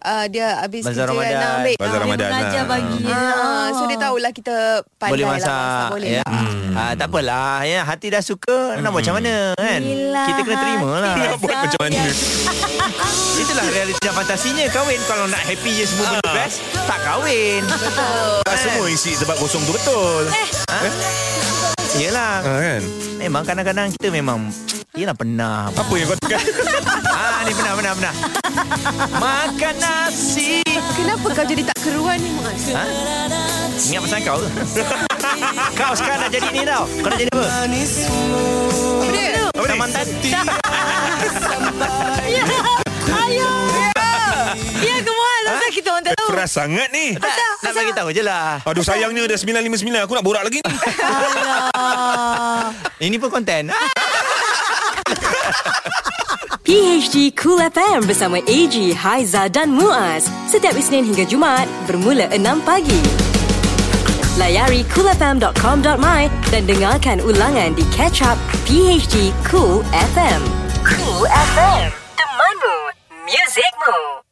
Speaker 11: uh, Dia habis
Speaker 1: Ah. Bazar
Speaker 11: kerja
Speaker 1: Ramadan.
Speaker 11: nak ambil
Speaker 4: Bazar
Speaker 11: Ah,
Speaker 2: Dia
Speaker 4: Ramadan
Speaker 2: mengajar
Speaker 4: lah.
Speaker 2: bagi.
Speaker 11: Ah,
Speaker 2: Ah.
Speaker 11: So dia tahulah kita pandai
Speaker 1: boleh
Speaker 11: lah
Speaker 1: masak,
Speaker 11: masak boleh
Speaker 1: ya.
Speaker 11: lah.
Speaker 1: Hmm. Ah, tak apalah ya hati dah suka nak buat macam mana kan
Speaker 2: Yelah,
Speaker 1: kita kena terima lah
Speaker 2: hati
Speaker 4: Nak buat macam mana?
Speaker 1: itulah realiti dan fantasinya kahwin kalau nak happy je semua benda best tak kahwin
Speaker 4: Ah.
Speaker 1: Eh,
Speaker 4: Tak semua isi tempat kosong tu betul.
Speaker 1: yelah
Speaker 4: Ha kan?
Speaker 1: Memang kadang-kadang kita memang Yelah pernah
Speaker 4: Apa yang kau tekan?
Speaker 1: Ah ni pernah pernah pernah Makan nasi
Speaker 11: Kenapa kau jadi tak keruan ni Mas?
Speaker 1: ha? Ingat pasal kau ke? Kau sekarang dah jadi ni tau Kau dah jadi apa?
Speaker 11: Apa dia?
Speaker 1: Apa Taman tanti
Speaker 2: Ayo. Ya, kemuat.
Speaker 4: Ah.
Speaker 2: Sebab kita orang tak tahu.
Speaker 4: Keras sangat ni.
Speaker 1: Tak, nak bagi tahu je lah
Speaker 4: Aduh sayangnya dah 959 aku nak borak lagi ni.
Speaker 1: Ini pun konten ah.
Speaker 3: PHD Cool FM bersama AG, Haiza dan Muaz Setiap Isnin hingga Jumaat bermula 6 pagi Layari coolfm.com.my dan dengarkan ulangan di Catch Up PHD Cool FM Cool FM, temanmu, muzikmu